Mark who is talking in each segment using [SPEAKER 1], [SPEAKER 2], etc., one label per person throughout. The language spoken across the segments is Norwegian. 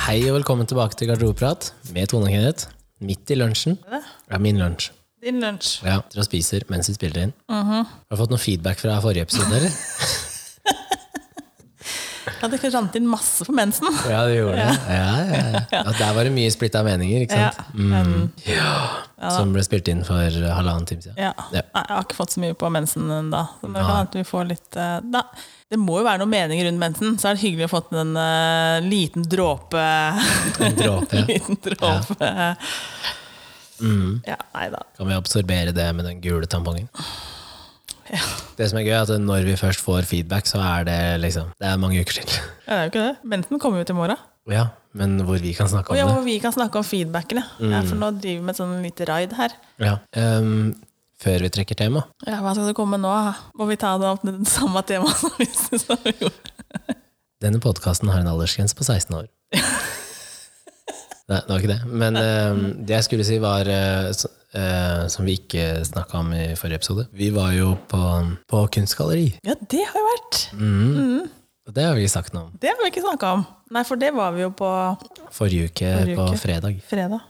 [SPEAKER 1] Hei og velkommen tilbake til Garderobeprat med Tone og Kenneth. Midt i lunsjen. Ja, min lunsj.
[SPEAKER 2] Din lunsj.
[SPEAKER 1] Ja, Dere spiser mens vi spiller inn. Har du fått noe feedback fra forrige episode? eller?
[SPEAKER 2] Ja, det rant inn masse på mensen.
[SPEAKER 1] ja, det gjorde det. Ja, ja, ja. Ja, der var det mye splitta meninger ikke
[SPEAKER 2] Ja,
[SPEAKER 1] sant?
[SPEAKER 2] men,
[SPEAKER 1] som ble spilt inn for eh, halvannen time siden.
[SPEAKER 2] ja.
[SPEAKER 1] Ja.
[SPEAKER 2] Nei, jeg har ikke fått så mye på mensen ennå. eh, Da. Det må jo være noen mening rundt mensen, så er det hyggelig å få til en eh, liten dråpe.
[SPEAKER 1] En dråpe.
[SPEAKER 2] liten dråpe. Ja, nei da.
[SPEAKER 1] Kan vi absorbere det med den gule tampongen?
[SPEAKER 2] Ja.
[SPEAKER 1] Det som er gøy, er at når vi først får feedback, så er det liksom Det er mange uker til.
[SPEAKER 2] Ja, det er jo ikke det. Mensen kommer jo til i morgen.
[SPEAKER 1] Ja, men hvor vi kan snakke
[SPEAKER 2] Og
[SPEAKER 1] om
[SPEAKER 2] ja,
[SPEAKER 1] det.
[SPEAKER 2] hvor vi kan snakke om feedbacken, ja. Ja, for nå driver vi med et sånn lite raid her.
[SPEAKER 1] Ja. Ehm, før vi trekker tema,
[SPEAKER 2] Ja, hva skal det komme nå? Må vi ta det opp med det samme temaet som vi som vi gjorde?
[SPEAKER 1] Denne podkasten har en aldersgrense på 16 år. Nei, det var ikke det. Men eh, det jeg skulle si, var eh, s- eh, Som vi ikke snakka om i forrige episode. Vi var jo på, på kunstgalleri.
[SPEAKER 2] Ja, det har jo vært.
[SPEAKER 1] Og det har vi sagt noe om.
[SPEAKER 2] Det har vi ikke snakka om. Nei, for det var vi jo på
[SPEAKER 1] Forrige uke
[SPEAKER 2] Forrige
[SPEAKER 1] på
[SPEAKER 2] uke.
[SPEAKER 1] fredag.
[SPEAKER 2] fredag.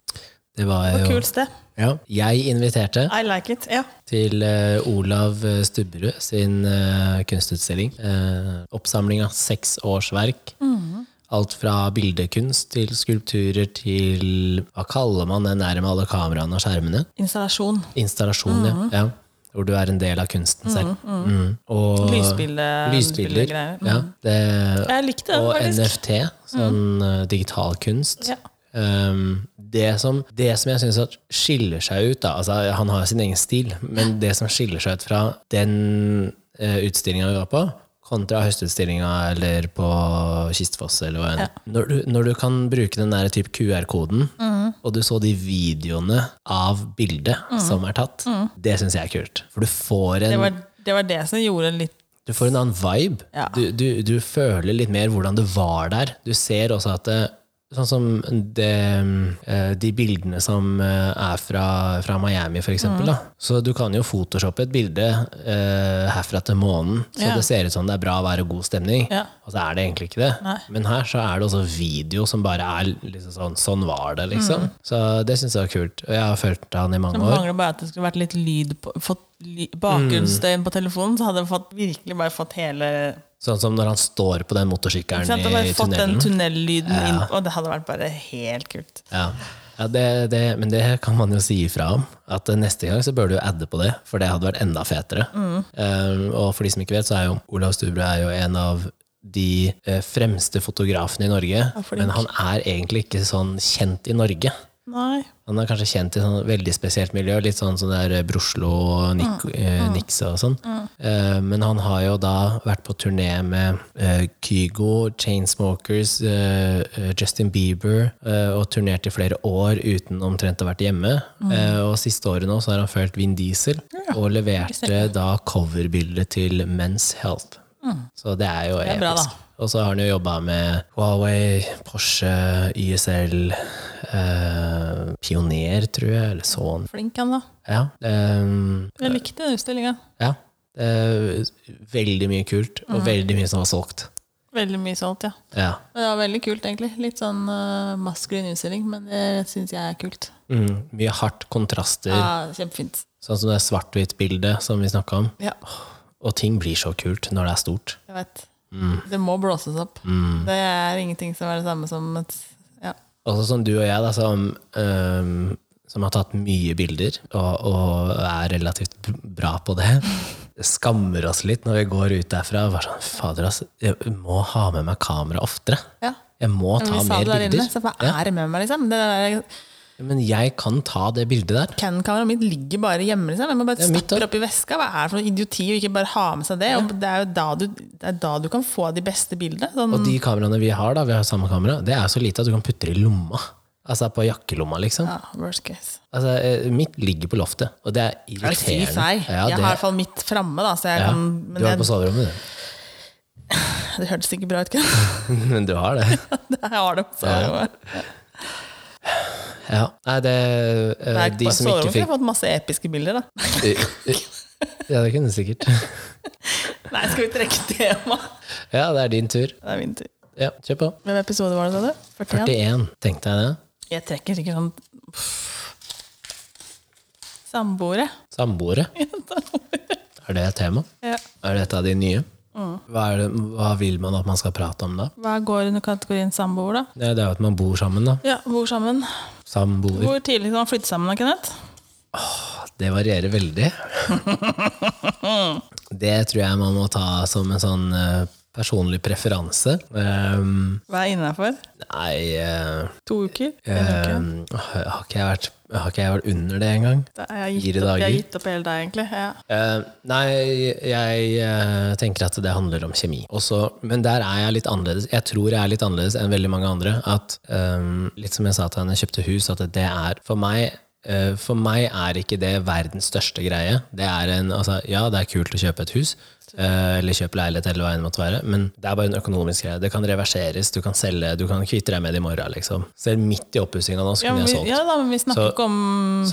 [SPEAKER 1] Det var jo
[SPEAKER 2] Kult sted.
[SPEAKER 1] ja. Jeg inviterte
[SPEAKER 2] I like it. Ja.
[SPEAKER 1] til eh, Olav Stubberud sin eh, kunstutstilling. Eh, oppsamling av seks årsverk. Alt fra bildekunst til skulpturer til Hva kaller man det nærme alle kameraene og skjermene?
[SPEAKER 2] Installasjon.
[SPEAKER 1] Installasjon, ja. ja. Hvor du er en del av kunsten selv. Mhm. Og
[SPEAKER 2] Lysbilde-
[SPEAKER 1] lysbilder.
[SPEAKER 2] bildegreier.
[SPEAKER 1] Ja, det,
[SPEAKER 2] Mm. Jeg likte den,
[SPEAKER 1] og
[SPEAKER 2] faktisk. Mm.
[SPEAKER 1] NFT, sånn eh, digital kunst.
[SPEAKER 2] Ja.
[SPEAKER 1] Um, det, som, det som jeg syns skiller seg ut da, altså Han har sin egen stil, men det som skiller seg ut fra den uh, utstillinga vi var på, kontra høstutstillinga eller på Kistfoss eller hva enn når, du- når du kan bruke den der type QR-koden,
[SPEAKER 2] Mm.
[SPEAKER 1] og du så de videoene av bildet som er tatt, det syns jeg er kult. For du får
[SPEAKER 2] Mm. Det
[SPEAKER 1] en
[SPEAKER 2] var, det var det som gjorde litt
[SPEAKER 1] du får en annen vibe.
[SPEAKER 2] Ja.
[SPEAKER 1] Du, du, du føler litt mer hvordan det var der. Du ser også at det, Sånn som det, eh, de bildene som eh, er fra, fra Miami, for eksempel. Da.
[SPEAKER 2] Mm.
[SPEAKER 1] Så du kan jo photoshoppe et bilde eh, herfra til månen, så
[SPEAKER 2] Ja.
[SPEAKER 1] det ser ut som det er bra vær og god stemning.
[SPEAKER 2] Ja.
[SPEAKER 1] Og så er det egentlig ikke det.
[SPEAKER 2] Nei.
[SPEAKER 1] Men her så er det også video som bare er liksom sånn Sånn var det, liksom.
[SPEAKER 2] Mm.
[SPEAKER 1] Så det syns jeg var kult. Og jeg har fulgt han i
[SPEAKER 2] Det
[SPEAKER 1] mange år.
[SPEAKER 2] mangler bare at det skulle vært litt lyd på, fått ly,
[SPEAKER 1] Mm.
[SPEAKER 2] bakgrunnsstøyen på telefonen, så hadde jeg fått, virkelig bare fått hele
[SPEAKER 1] Sånn som når han står på den
[SPEAKER 2] ikke sant?
[SPEAKER 1] motorsykkelen
[SPEAKER 2] Hadde
[SPEAKER 1] i
[SPEAKER 2] bare fått den
[SPEAKER 1] tunnelen.
[SPEAKER 2] tunnellyden inn, og det hadde vært bare helt kult.
[SPEAKER 1] Ja, ja det, det, men det kan man jo si ifra om. At eh, neste gang så bør du adde på det, for det hadde vært enda fetere. Eh, og for de som ikke vet, så er jo Olav Stubre er jo en av de eh, fremste fotografene i Norge.
[SPEAKER 2] flink.
[SPEAKER 1] Men han er egentlig ikke sånn kjent i Norge.
[SPEAKER 2] Nei.
[SPEAKER 1] Han er kanskje kjent i sånn veldig spesielt miljø, litt sånn som det er Broslo og Nik eh, Nixe og sånn. Eh, men han har jo da vært på turné med eh, Kygo, Chainsmokers, eh, eh, Justin Bieber, eh, og turnert i flere år uten omtrent å ha vært hjemme. Eh, og siste året nå så har han følt Vin Diesel, og leverte da coverbildet til Men's Health. Så det er jo
[SPEAKER 2] er bra, da.
[SPEAKER 1] episk. Og så har han jo jobba med Huawei, Porsche, YSL, eh, Pioner, tror jeg, eller sånn.
[SPEAKER 2] Flink han, da.
[SPEAKER 1] Ja. ehm,
[SPEAKER 2] Jeg likte den utstillinga.
[SPEAKER 1] ja. Eh, veldig mye kult,
[SPEAKER 2] Mhm.
[SPEAKER 1] og veldig mye som var solgt.
[SPEAKER 2] Veldig mye solgt, ja.
[SPEAKER 1] Ja.
[SPEAKER 2] Det var veldig kult, egentlig. Litt sånn uh, maskulin utstilling, men det syns jeg er kult.
[SPEAKER 1] Mm, mye hardt kontraster,
[SPEAKER 2] Ja, kjempefint.
[SPEAKER 1] sånn som det svart-hvitt-bildet som vi snakka om.
[SPEAKER 2] Ja,
[SPEAKER 1] Og ting blir så kult når det er stort.
[SPEAKER 2] jeg vet.
[SPEAKER 1] Mm.
[SPEAKER 2] Det må blåses opp. Det er ingenting som er det samme som et ja.
[SPEAKER 1] Også som du og jeg, da, som, øhm, som har tatt mye bilder, og, og er relativt b- bra på det, skammer oss litt når vi går ut derfra. Og bare sånn, Fader, ass, jeg må ha med meg kamera oftere.
[SPEAKER 2] ja.
[SPEAKER 1] Jeg må
[SPEAKER 2] Men
[SPEAKER 1] ta
[SPEAKER 2] vi sa
[SPEAKER 1] mer
[SPEAKER 2] det der
[SPEAKER 1] bilder.
[SPEAKER 2] inne, så hva er det med meg, liksom? Det der
[SPEAKER 1] Men jeg kan ta det bildet der.
[SPEAKER 2] Canon-kameraet mitt ligger bare hjemme, liksom. Jeg må bare
[SPEAKER 1] Det er mitt
[SPEAKER 2] stappe det opp i veska. Hva er det for noe idioti å ikke bare ha med seg det? Og det er jo da du, det er da du kan få de beste bildene. Sånn,
[SPEAKER 1] Og de kameraene vi har, da, vi har samme kamera, det er så lite at du kan putte det i lomma. Altså på jakkelomma, liksom.
[SPEAKER 2] ja, worst case.
[SPEAKER 1] Altså, eh, mitt ligger på loftet, og det er
[SPEAKER 2] Er det fy
[SPEAKER 1] irriterende.
[SPEAKER 2] seg?
[SPEAKER 1] Ja,
[SPEAKER 2] jeg
[SPEAKER 1] det-
[SPEAKER 2] har i hvert fall mitt framme, da, så jeg
[SPEAKER 1] ja.
[SPEAKER 2] kan
[SPEAKER 1] Du
[SPEAKER 2] Men
[SPEAKER 1] har det
[SPEAKER 2] jeg,
[SPEAKER 1] på sånn- soverommet,
[SPEAKER 2] det hørtes ikke bra ut, ikke
[SPEAKER 1] du. Men du har det.
[SPEAKER 2] sant? Jeg har det på sånn- soverommet.
[SPEAKER 1] Ja. Nei, det, eh,
[SPEAKER 2] Nei,
[SPEAKER 1] de
[SPEAKER 2] på
[SPEAKER 1] som ikke
[SPEAKER 2] soverommet
[SPEAKER 1] fikk
[SPEAKER 2] har jeg fått masse episke bilder, da.
[SPEAKER 1] Ja, det kunne du sikkert.
[SPEAKER 2] Nei, skal vi trekke tema?
[SPEAKER 1] Ja, det er din tur.
[SPEAKER 2] Det er min tur.
[SPEAKER 1] Ja, kjør på.
[SPEAKER 2] Hvem episode var det, sa du? 41?
[SPEAKER 1] 41. Tenk deg det.
[SPEAKER 2] Jeg trekker sikkert sånn Samboere.
[SPEAKER 1] Samboere. Er det et tema?
[SPEAKER 2] Ja.
[SPEAKER 1] Er det et av de nye?
[SPEAKER 2] Mm.
[SPEAKER 1] Hva, er det, hva vil man at man skal prate om da?
[SPEAKER 2] Hva går under kategorien samboer, da?
[SPEAKER 1] Nei, Det er jo at man bor sammen, da.
[SPEAKER 2] Ja, bor sammen.
[SPEAKER 1] Samboer.
[SPEAKER 2] Hvor tidlig kan man flytte sammen, da, Kenneth?
[SPEAKER 1] Det varierer veldig. Det tror jeg man må ta som en sånn eh, personlig preferanse. Ehm,
[SPEAKER 2] Hva er innafor?
[SPEAKER 1] nei eh,
[SPEAKER 2] To uker? En uke?
[SPEAKER 1] ehm, har, ikke jeg vært, har ikke jeg vært under det engang?
[SPEAKER 2] Da er jeg
[SPEAKER 1] fire
[SPEAKER 2] gitt opp, jeg har
[SPEAKER 1] dager.
[SPEAKER 2] gitt opp hele deg, egentlig. Ja.
[SPEAKER 1] Eh, nei, jeg eh, tenker at det handler om kjemi. Også, men der er jeg litt annerledes. Jeg tror jeg er litt annerledes enn veldig mange andre. At, eh, litt som jeg sa til henne, jeg kjøpte hus, at det er for meg eh, for meg er ikke det verdens største greie. Det er en, altså, ja, det er kult å kjøpe et hus, eh, eller kjøpe leilighet, eller hva enn det måtte være, men det er bare en økonomisk greie. Det kan reverseres, du kan selge, du kan kvitte deg med det i morgen. Liksom. Selv midt i oppussinga nå, så
[SPEAKER 2] Ja,
[SPEAKER 1] kunne
[SPEAKER 2] men
[SPEAKER 1] jeg
[SPEAKER 2] vi,
[SPEAKER 1] solgt.
[SPEAKER 2] ja da, men vi snakker
[SPEAKER 1] Så-
[SPEAKER 2] ikke om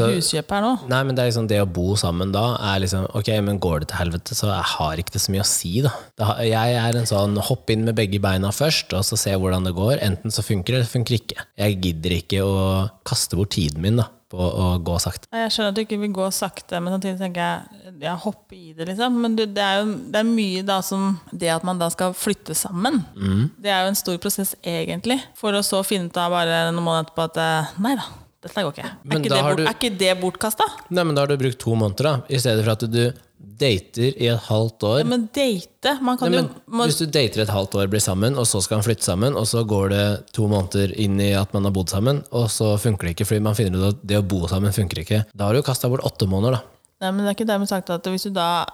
[SPEAKER 1] så-
[SPEAKER 2] huskjøp her nå.
[SPEAKER 1] Nei, men det er liksom det å bo sammen da er liksom Ok, men går det til helvete, så jeg har ikke det så mye å si, da. Det har- Jeg er en sånn hopp inn med begge beina først, og så se hvordan det går. Enten så funker det, eller så funker det ikke. Jeg gidder ikke å kaste bort tiden min da på å gå sakte.
[SPEAKER 2] Nei, Jeg skjønner at du ikke vil gå sakte, men samtidig tenker jeg ja, hopp i det, liksom. Men du, det er jo det er mye da som Det at man da skal flytte sammen,
[SPEAKER 1] Mm.
[SPEAKER 2] det er jo en stor prosess egentlig. For å så finne ut av bare noen måneder etterpå at eh, nei da, dette går ikke. Er
[SPEAKER 1] Men
[SPEAKER 2] ikke,
[SPEAKER 1] da
[SPEAKER 2] det,
[SPEAKER 1] har
[SPEAKER 2] bort,
[SPEAKER 1] du-
[SPEAKER 2] er ikke det bortkasta?
[SPEAKER 1] Nei, men da har du brukt to måneder, da, i stedet for at du dater i et halvt år.
[SPEAKER 2] Men date Man kan
[SPEAKER 1] Nei, men,
[SPEAKER 2] jo man,
[SPEAKER 1] hvis du dater et halvt år, blir sammen, og så skal han flytte sammen, og så går det to måneder inn i at man har bodd sammen, og så funker det ikke fordi man finner ut at det å bo sammen funker ikke, da har du kasta bort åtte måneder, da.
[SPEAKER 2] Nei, men det er ikke dermed sagt at hvis du da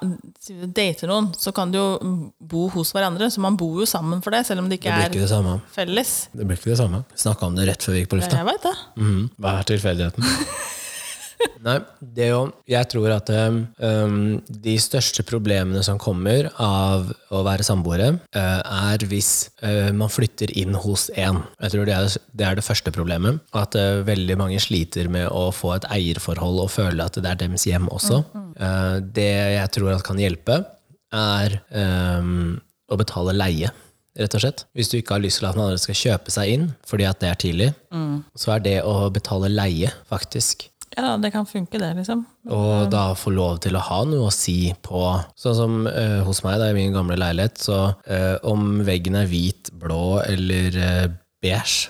[SPEAKER 2] sier du dater noen, så kan du jo bo hos hverandre. Så man bor jo sammen for det, selv om det ikke
[SPEAKER 1] Det blir
[SPEAKER 2] er
[SPEAKER 1] ikke det samme.
[SPEAKER 2] felles.
[SPEAKER 1] Det blir ikke det samme. Snakka om det rett før vi gikk på lufta.
[SPEAKER 2] Jeg veit det.
[SPEAKER 1] Mhm. Hva er tilfeldigheten? Nei, det er jo Jeg tror at um, um, de største problemene som kommer av å være samboere, uh, er hvis uh, man flytter inn hos én. Jeg tror det er det, er det første problemet. At uh, veldig mange sliter med å få et eierforhold og føle at det er deres hjem også. Uh, det jeg tror at kan hjelpe, er um, å betale leie. Rett og slett. Hvis du ikke har lyst til at den andre skal kjøpe seg inn, fordi at det er tidlig, så er det å betale leie faktisk
[SPEAKER 2] Ja, det kan funke, det, liksom.
[SPEAKER 1] og da få lov til å ha noe å si på Sånn som eh, hos meg da, i min gamle leilighet, så eh, om veggen er hvit, blå eller eh, beige,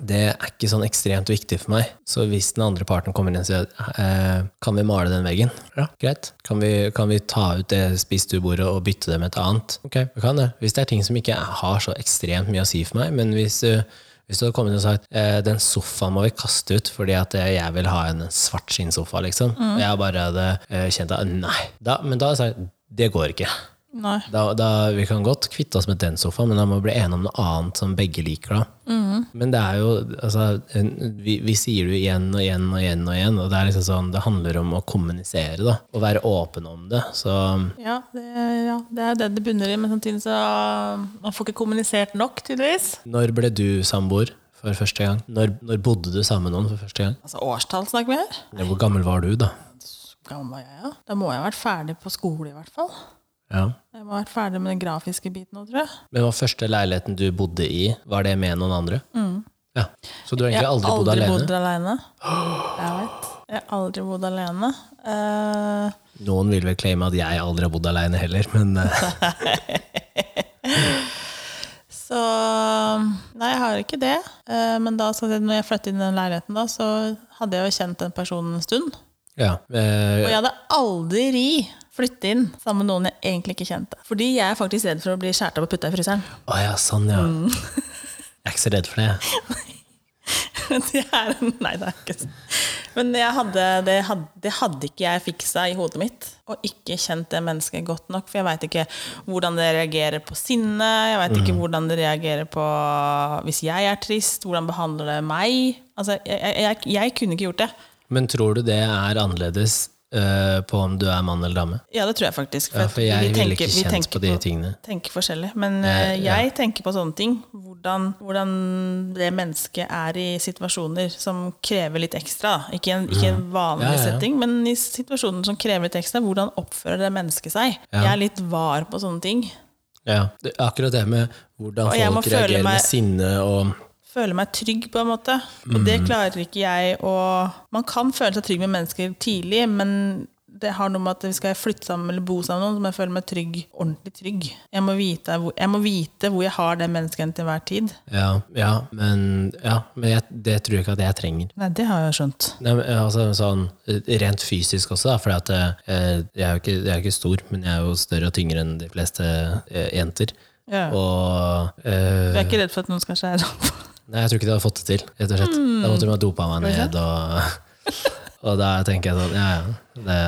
[SPEAKER 1] det er ikke sånn ekstremt viktig for meg. Så hvis den andre parten kommer inn og sier eh, kan vi male den veggen, ja, greit. Kan vi, kan vi ta ut det spisestuebordet og bytte det med et annet? Ok, vi kan det. Hvis det er ting som ikke har så ekstremt mye å si for meg, men hvis eh, du hvis du hadde kommet inn og sagt eh, den sofaen må vi kaste ut fordi at eh, jeg vil ha en svart skinnsofa, liksom. Og jeg bare hadde eh, kjent at nei. Da, men da hadde jeg sagt det går ikke.
[SPEAKER 2] Nei.
[SPEAKER 1] Da, da, vi kan godt kvitte oss med den sofaen, men da må vi bli enige om noe annet som begge liker. da. Men det er jo altså, en, vi, vi sier det jo igjen og igjen og igjen, og igjen, og det er liksom sånn, det handler om å kommunisere da, og være åpen om det. Så
[SPEAKER 2] Ja, det, ja, det er det det bunner i, men samtidig så Man får ikke kommunisert nok, tydeligvis.
[SPEAKER 1] når ble du samboer for første gang? Når, når bodde du sammen med noen for første gang?
[SPEAKER 2] Altså årstall snakker vi her.
[SPEAKER 1] Hvor gammel var du, da?
[SPEAKER 2] Så gammel var jeg, ja. Da må jeg ha vært ferdig på skole, i hvert fall.
[SPEAKER 1] Ja.
[SPEAKER 2] Jeg må ha vært ferdig med den grafiske biten òg, tror jeg.
[SPEAKER 1] Men var første leiligheten du bodde i, var det med noen andre? Ja. Så du har
[SPEAKER 2] Mm. Jeg
[SPEAKER 1] egentlig
[SPEAKER 2] har
[SPEAKER 1] aldri, bodd alene?
[SPEAKER 2] bodd alene. Jeg vet. Jeg har aldri bodd alene. Eh,
[SPEAKER 1] Noen vil vel claime at jeg aldri har bodd alene heller, men eh,
[SPEAKER 2] så Nei, jeg har ikke det. Eh, men da skal jeg, si, når jeg flyttet inn i den leiligheten, da, så hadde jeg jo kjent den personen en stund.
[SPEAKER 1] ja.
[SPEAKER 2] Og
[SPEAKER 1] Eh,
[SPEAKER 2] jeg hadde aldri flyttet inn sammen med noen jeg egentlig ikke kjente. Fordi jeg er faktisk redd for å bli skåret opp og putta i fryseren.
[SPEAKER 1] Å ja, sånn ja.
[SPEAKER 2] Mm.
[SPEAKER 1] Jeg er ikke så redd for det.
[SPEAKER 2] det er, nei, det er ikke sånn. Men jeg hadde, det, hadde, det hadde ikke jeg fiksa i hodet mitt. Og ikke kjent det mennesket godt nok. For jeg veit ikke hvordan det reagerer på sinne. Jeg veit
[SPEAKER 1] Mhm.
[SPEAKER 2] ikke hvordan det reagerer på hvis jeg er trist. Hvordan behandler det meg? Altså, jeg, jeg, jeg, jeg kunne ikke gjort det.
[SPEAKER 1] Men tror du det er annerledes eh, på om du er mann eller dame?
[SPEAKER 2] Ja, det tror jeg faktisk.
[SPEAKER 1] Ja,
[SPEAKER 2] at
[SPEAKER 1] for jeg
[SPEAKER 2] vi
[SPEAKER 1] ville
[SPEAKER 2] tenker-
[SPEAKER 1] ikke
[SPEAKER 2] vi
[SPEAKER 1] kjent
[SPEAKER 2] tenker
[SPEAKER 1] på de tingene.
[SPEAKER 2] Tenker forskjellig. Men eh, jeg tenker på sånne ting. Hvordan, hvordan det mennesket er i situasjoner som krever litt ekstra. da. Ikke en, ikke en vanlig
[SPEAKER 1] Mm. Ja, ja, ja.
[SPEAKER 2] setting, men i situasjoner som krever litt ekstra. Hvordan oppfører det mennesket seg? Jeg er litt var på sånne ting.
[SPEAKER 1] Ja. Det, er akkurat det med hvordan
[SPEAKER 2] Og jeg må
[SPEAKER 1] folk
[SPEAKER 2] føle
[SPEAKER 1] reagerer
[SPEAKER 2] meg-
[SPEAKER 1] med sinne og
[SPEAKER 2] føle meg trygg, på en måte. Og
[SPEAKER 1] Mm.
[SPEAKER 2] det klarer ikke jeg å Man kan føle seg trygg med mennesker tidlig, men det har noe med at hvis jeg skal flytte sammen eller bo sammen med noen, så må jeg føle meg trygg, ordentlig trygg. Jeg må vite hvor jeg, må vite hvor jeg har det mennesket til enhver tid.
[SPEAKER 1] Ja, ja men, ja, men jeg, det tror jeg ikke at jeg trenger.
[SPEAKER 2] Nei, det har jeg jo skjønt.
[SPEAKER 1] Nei, men, altså, sånn, rent fysisk også, da, for at, eh, jeg, er jo ikke, jeg er jo ikke stor, men jeg er jo større og tyngre enn de fleste eh, jenter.
[SPEAKER 2] Ja.
[SPEAKER 1] Og eh,
[SPEAKER 2] Du er ikke redd for at noen skal skjære opp?
[SPEAKER 1] Nei, jeg tror ikke de hadde fått det til, rett og slett. Da måtte de ha dopa
[SPEAKER 2] Mm.
[SPEAKER 1] meg ned, og, og da tenker jeg sånn, ja ja, det,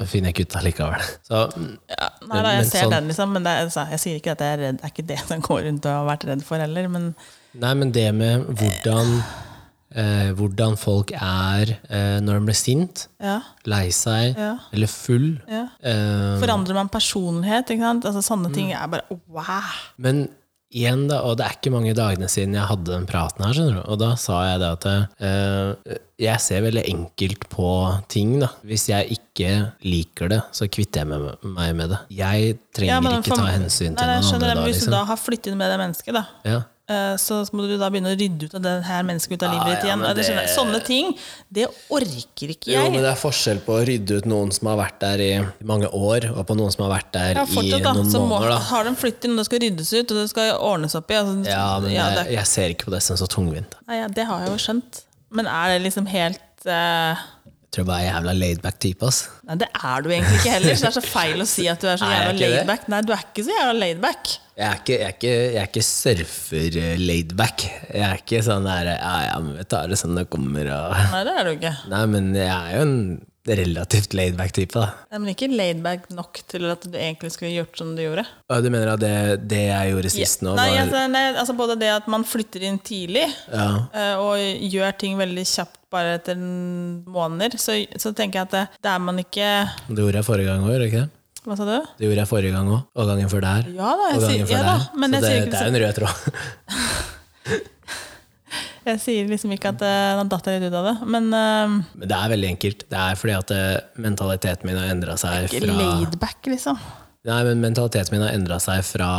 [SPEAKER 1] da finner jeg ikke ut allikevel. Så,
[SPEAKER 2] Ja, nei da,
[SPEAKER 1] Men-
[SPEAKER 2] jeg
[SPEAKER 1] men
[SPEAKER 2] ser
[SPEAKER 1] sånn-
[SPEAKER 2] den, liksom, men det, er- altså, jeg sier ikke at jeg er redd. Det er ikke det jeg går rundt og har vært redd for heller, men
[SPEAKER 1] nei, men det med hvordan, eh, hvordan folk er eh, når de blir sint,
[SPEAKER 2] ja.
[SPEAKER 1] lei seg,
[SPEAKER 2] Ja.
[SPEAKER 1] eller full.
[SPEAKER 2] ja.
[SPEAKER 1] Eh,
[SPEAKER 2] Forandrer man personlighet, ikke sant?
[SPEAKER 1] Mm.
[SPEAKER 2] Altså, sånne ting er bare wow!
[SPEAKER 1] Men igjen, da, og det er ikke mange dagene siden jeg hadde den praten her, skjønner du. Og da sa jeg det at eh, jeg ser veldig enkelt på ting, da. Hvis jeg ikke liker det, så kvitter jeg med, meg med det. Jeg trenger
[SPEAKER 2] Ja, men
[SPEAKER 1] ikke ta
[SPEAKER 2] for-
[SPEAKER 1] hensyn til
[SPEAKER 2] Nei, nei, jeg
[SPEAKER 1] noen andre
[SPEAKER 2] skjønner det,
[SPEAKER 1] da,
[SPEAKER 2] men Hvis du
[SPEAKER 1] liksom.
[SPEAKER 2] da har flyttet inn med det mennesket, da,
[SPEAKER 1] Ja.
[SPEAKER 2] eh, så må du da begynne å rydde ut av det her mennesket ut av livet
[SPEAKER 1] ja,
[SPEAKER 2] ditt igjen.
[SPEAKER 1] men
[SPEAKER 2] og det... skjønner jeg.
[SPEAKER 1] det-
[SPEAKER 2] Sånne ting, det orker ikke
[SPEAKER 1] Jo,
[SPEAKER 2] jeg.
[SPEAKER 1] men det er forskjell på å rydde ut noen som har vært der i mange år, og på noen som har vært der
[SPEAKER 2] ja,
[SPEAKER 1] i
[SPEAKER 2] fortsatt, da,
[SPEAKER 1] noen
[SPEAKER 2] så må,
[SPEAKER 1] måneder, da.
[SPEAKER 2] har de flyttet inn, og det skal ryddes ut, og det skal ordnes opp i. Altså,
[SPEAKER 1] Ja, men
[SPEAKER 2] ja, det,
[SPEAKER 1] jeg, jeg ser ikke på det som så tungvint. da.
[SPEAKER 2] nei, ja, det har jeg jo skjønt. Men er det liksom helt eh,
[SPEAKER 1] Jeg tror jeg bare er en jævla laidback type, ass.
[SPEAKER 2] Nei, det er du egentlig ikke heller. Så det er så feil å si at du er så
[SPEAKER 1] Er jeg
[SPEAKER 2] jævla
[SPEAKER 1] ikke det?
[SPEAKER 2] laidback. Nei, du er ikke så jævla laidback.
[SPEAKER 1] Jeg er ikke, jeg er ikke, jeg er ikke surfer-laidback. Jeg er ikke sånn der Ja, ja, men vi tar det sånn det kommer og
[SPEAKER 2] Nei, det er du ikke.
[SPEAKER 1] Nei, men jeg er jo en relativt laidback type, da.
[SPEAKER 2] Nei, men ikke laidback nok til at du egentlig skulle gjort som du gjorde.
[SPEAKER 1] Og du mener at det, det jeg gjorde sist nå,
[SPEAKER 2] Nei,
[SPEAKER 1] var
[SPEAKER 2] altså, nei, altså både det at man flytter inn tidlig
[SPEAKER 1] ja,
[SPEAKER 2] eh, og gjør ting veldig kjapt bare etter en måneder, så, så tenker jeg at det, det er man ikke
[SPEAKER 1] Det gjorde jeg forrige gang òg, gjorde jeg ikke det?
[SPEAKER 2] Hva sa du?
[SPEAKER 1] Det gjorde jeg forrige gang òg, og gangen før der.
[SPEAKER 2] Ja da, jeg
[SPEAKER 1] og
[SPEAKER 2] sier,
[SPEAKER 1] gangen før
[SPEAKER 2] ja, da
[SPEAKER 1] der. Så
[SPEAKER 2] men jeg
[SPEAKER 1] det,
[SPEAKER 2] sier,
[SPEAKER 1] det er
[SPEAKER 2] ikke,
[SPEAKER 1] en rød tråd.
[SPEAKER 2] jeg sier liksom ikke at eh, nå datt jeg litt ut av det. Men eh,
[SPEAKER 1] Men det er veldig enkelt. Det er fordi at eh, mentaliteten min har endra seg
[SPEAKER 2] ikke
[SPEAKER 1] fra
[SPEAKER 2] laidback, liksom.
[SPEAKER 1] Nei, men mentaliteten min har endra seg fra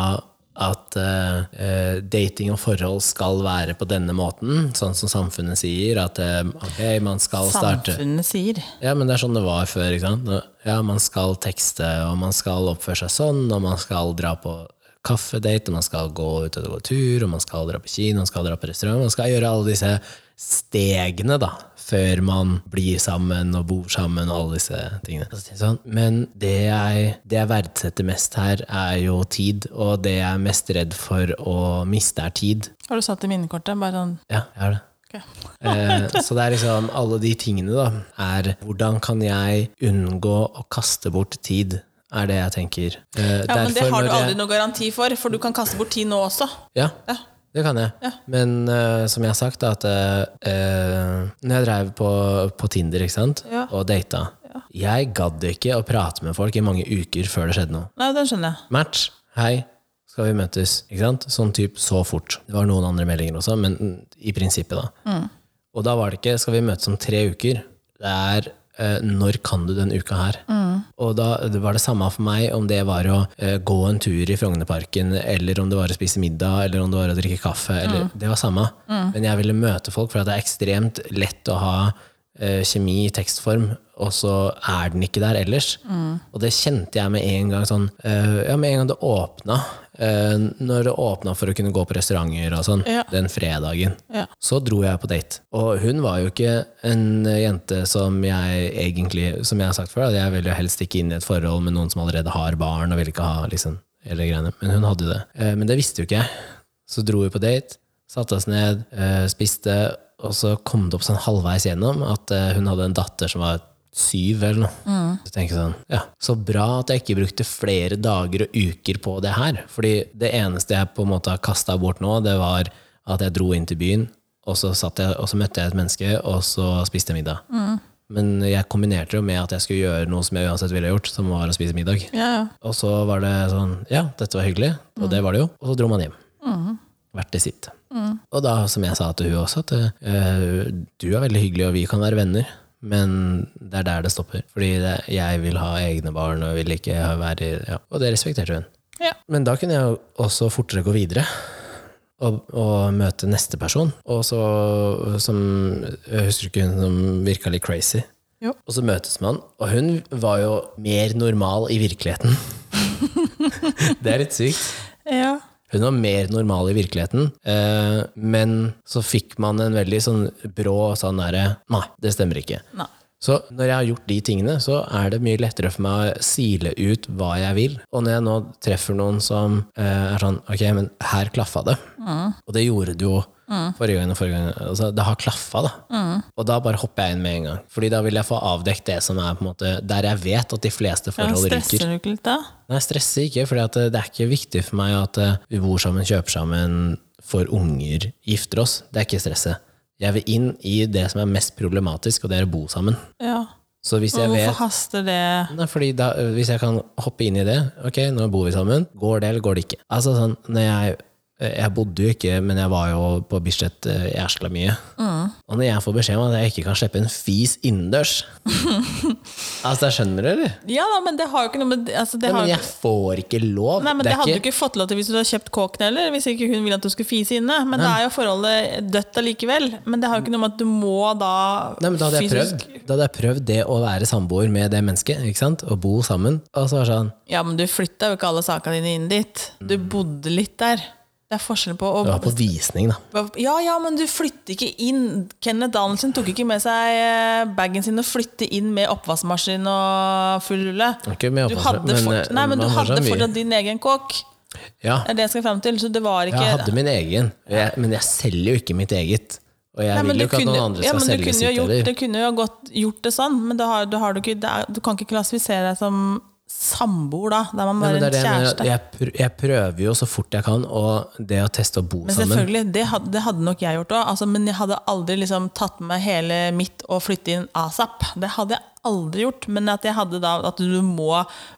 [SPEAKER 1] at eh, eh, dating og forhold skal være på denne måten, sånn som samfunnet sier, at eh, ok, man skal starte
[SPEAKER 2] Samfunnet sier.
[SPEAKER 1] Ja, men det er sånn det var før, ikke sant? Ja, man skal tekste, og man skal oppføre seg sånn, og man skal dra på kaffedate, og man skal gå ut og gå tur, og man skal dra på kino, man skal dra på restaurant, man skal gjøre alle disse stegene da, før man blir sammen og bor sammen og alle disse tingene. Så sier jeg Sånn. Men det jeg, det jeg verdsetter mest her er jo tid, og det jeg er mest redd for å miste er tid.
[SPEAKER 2] Har du satt i minnekortet? Bare sånn
[SPEAKER 1] Ja, jeg har det.
[SPEAKER 2] ok.
[SPEAKER 1] Eh, så det er liksom alle de tingene, da, er hvordan kan jeg unngå å kaste bort tid, er det jeg tenker. Eh,
[SPEAKER 2] Ja, men det
[SPEAKER 1] derfor
[SPEAKER 2] har du
[SPEAKER 1] når
[SPEAKER 2] aldri
[SPEAKER 1] jeg,
[SPEAKER 2] noe garanti for, for du kan kaste bort tid nå også.
[SPEAKER 1] Ja,
[SPEAKER 2] Ja.
[SPEAKER 1] det kan jeg. Men eh, som jeg har sagt, da, at eh, når jeg drev på, på Tinder ikke sant?
[SPEAKER 2] Ja.
[SPEAKER 1] og data Jeg gadd ikke å prate med folk i mange uker før det skjedde noe.
[SPEAKER 2] Nei, den skjønner jeg.
[SPEAKER 1] Match. Hei. Skal vi møtes? Ikke sant? Sånn type så fort. Det var noen andre meldinger også, men mm, i prinsippet, da. Og da var det ikke 'skal vi møtes om tre uker'. Det er eh, 'når kan du den uka her'? Og da det var det samme for meg om det var å eh, gå en tur i Frognerparken, eller om det var å spise middag, eller om det var å drikke kaffe. Eller, Det var samme. Men jeg ville møte folk, for det er ekstremt lett å ha eh, kjemi i tekstform, og så er den ikke der ellers. Og det kjente jeg med en gang sånn eh, Ja, med en gang det åpna. eh, når det åpna for å kunne gå på restauranter og sånn,
[SPEAKER 2] Ja.
[SPEAKER 1] den fredagen.
[SPEAKER 2] Ja.
[SPEAKER 1] Så dro jeg på date. Og hun var jo ikke en jente som jeg egentlig Som jeg har sagt før, da, jeg vil jo helst ikke inn i et forhold med noen som allerede har barn og vil ikke ha liksom, hele greiene. Men hun hadde det. Eh, Men det visste jo ikke jeg. Så dro vi på date, satte oss ned, eh, spiste, og så kom det opp sånn halvveis gjennom at eh, hun hadde en datter som var syv eller noe. Så tenker jeg sånn, ja, så bra at jeg ikke brukte flere dager og uker på det her. Fordi det eneste jeg på en måte har kasta bort nå, det var at jeg dro inn til byen, og så, satt jeg, og så møtte jeg et menneske, og så spiste jeg middag. Men jeg kombinerte det jo med at jeg skulle gjøre noe som jeg uansett ville gjort, som var å spise middag.
[SPEAKER 2] Ja, ja.
[SPEAKER 1] Og så var det sånn, ja, dette var hyggelig, og det var det jo. Og så dro man hjem. Hvert til sitt. Og da, som jeg sa til hun også, at eh, du er veldig hyggelig, og vi kan være venner. Men det er der det stopper. Fordi det, jeg vil ha egne barn, og jeg vil ikke ha- være i- ja. Og det respekterte hun.
[SPEAKER 2] Ja.
[SPEAKER 1] Men da kunne jeg jo også fortere gå videre. Og, og møte neste person. Og så som Jeg husker ikke hun som virka litt crazy.
[SPEAKER 2] Jo.
[SPEAKER 1] Og så møtes man, og hun var jo mer normal i virkeligheten. det er litt sykt.
[SPEAKER 2] ja.
[SPEAKER 1] Hun var mer normal i virkeligheten, eh, men så fikk man en veldig sånn brå sånn derre Nei, det stemmer ikke.
[SPEAKER 2] Nei.
[SPEAKER 1] Så når jeg har gjort de tingene, så er det mye lettere for meg å sile ut hva jeg vil. Og når jeg nå treffer noen som eh, er sånn Ok, men her klaffa det.
[SPEAKER 2] Mm.
[SPEAKER 1] Og det gjorde det jo forrige gang og forrige gang. Altså, det har klaffa, da.
[SPEAKER 2] Mm.
[SPEAKER 1] Og da bare hopper jeg inn med en gang. Fordi da vil jeg få avdekt det som er på en måte der jeg vet at de fleste
[SPEAKER 2] Ja,
[SPEAKER 1] forhold ryker.
[SPEAKER 2] Stresser du ikke litt da?
[SPEAKER 1] Nei, stresse ikke, for det er ikke viktig for meg at eh, vi bor sammen, kjøper sammen, får unger, gifter oss. Det er ikke stresset. Jeg vil inn i det som er mest problematisk, og det er å bo sammen.
[SPEAKER 2] Ja.
[SPEAKER 1] Så hvis jeg
[SPEAKER 2] Men
[SPEAKER 1] vet
[SPEAKER 2] hvorfor haster det?
[SPEAKER 1] Nei, fordi da, ø, Hvis jeg kan hoppe inn i det Ok, nå bor vi sammen. Går det, eller går det ikke? Altså sånn, når jeg, ø, jeg bodde jo ikke, men jeg var jo på Bislett ø, i Ersla mye. Og når jeg får beskjed om at jeg ikke kan slippe en fis innendørs Altså, jeg skjønner det, eller?
[SPEAKER 2] Ja da, men det har jo ikke noe med altså, det
[SPEAKER 1] Nei,
[SPEAKER 2] har
[SPEAKER 1] men
[SPEAKER 2] jo ikke-
[SPEAKER 1] jeg får ikke lov.
[SPEAKER 2] Nei, men Det,
[SPEAKER 1] er
[SPEAKER 2] hadde
[SPEAKER 1] ikke-
[SPEAKER 2] du ikke fått lov til hvis du hadde kjøpt kåken heller. Hvis ikke hun ville at du skulle fise inne. Men da er jo forholdet dødt allikevel. Men det har jo ikke noe med at du må da
[SPEAKER 1] Nei, men da hadde, jeg
[SPEAKER 2] fysisk-
[SPEAKER 1] prøvd, da hadde jeg prøvd det å være samboer med det mennesket, ikke sant? og bo sammen. Og så var det sånn
[SPEAKER 2] Ja, men du flytta jo ikke alle sakene dine inn dit. Du
[SPEAKER 1] Mm.
[SPEAKER 2] bodde litt der. Det er forskjell på å
[SPEAKER 1] Det var på visning, da.
[SPEAKER 2] Ja, ja, men du flytter ikke inn. Kenneth Danielsen tok ikke med seg eh, bagen sin og flytte inn med oppvaskmaskin og full rulle.
[SPEAKER 1] Ikke med
[SPEAKER 2] Du
[SPEAKER 1] oppvaskmaskin,
[SPEAKER 2] hadde,
[SPEAKER 1] men, eh,
[SPEAKER 2] fort, nei, men du
[SPEAKER 1] man har
[SPEAKER 2] hadde
[SPEAKER 1] så mye.
[SPEAKER 2] fortsatt din egen kåk.
[SPEAKER 1] Ja,
[SPEAKER 2] Det er det jeg skal frem til. Så det var ikke
[SPEAKER 1] jeg hadde min egen, og jeg, men jeg selger jo ikke mitt eget. Og jeg
[SPEAKER 2] Nei,
[SPEAKER 1] vil
[SPEAKER 2] men
[SPEAKER 1] jo
[SPEAKER 2] du
[SPEAKER 1] ikke at
[SPEAKER 2] kunne-
[SPEAKER 1] noen andre
[SPEAKER 2] ja,
[SPEAKER 1] skal
[SPEAKER 2] men du
[SPEAKER 1] selge
[SPEAKER 2] kunne jo
[SPEAKER 1] sitt
[SPEAKER 2] gjort,
[SPEAKER 1] heller.
[SPEAKER 2] Du kunne jo godt gjort det sånn, men da har, da har du, ikke, det er, du kan ikke klassifisere deg som samboer da. Da er man
[SPEAKER 1] Nei,
[SPEAKER 2] bare
[SPEAKER 1] men det er det
[SPEAKER 2] en
[SPEAKER 1] jeg, mener, at
[SPEAKER 2] kjæreste.
[SPEAKER 1] jeg, pr- jeg prøver jo så fort jeg kan, og det å teste å bo
[SPEAKER 2] Men
[SPEAKER 1] sammen
[SPEAKER 2] selvfølgelig, det hadde, det hadde nok jeg gjort òg. Altså, men jeg hadde aldri liksom tatt med hele mitt og flytte inn asap. Det hadde jeg aldri gjort. Men at jeg hadde da at du må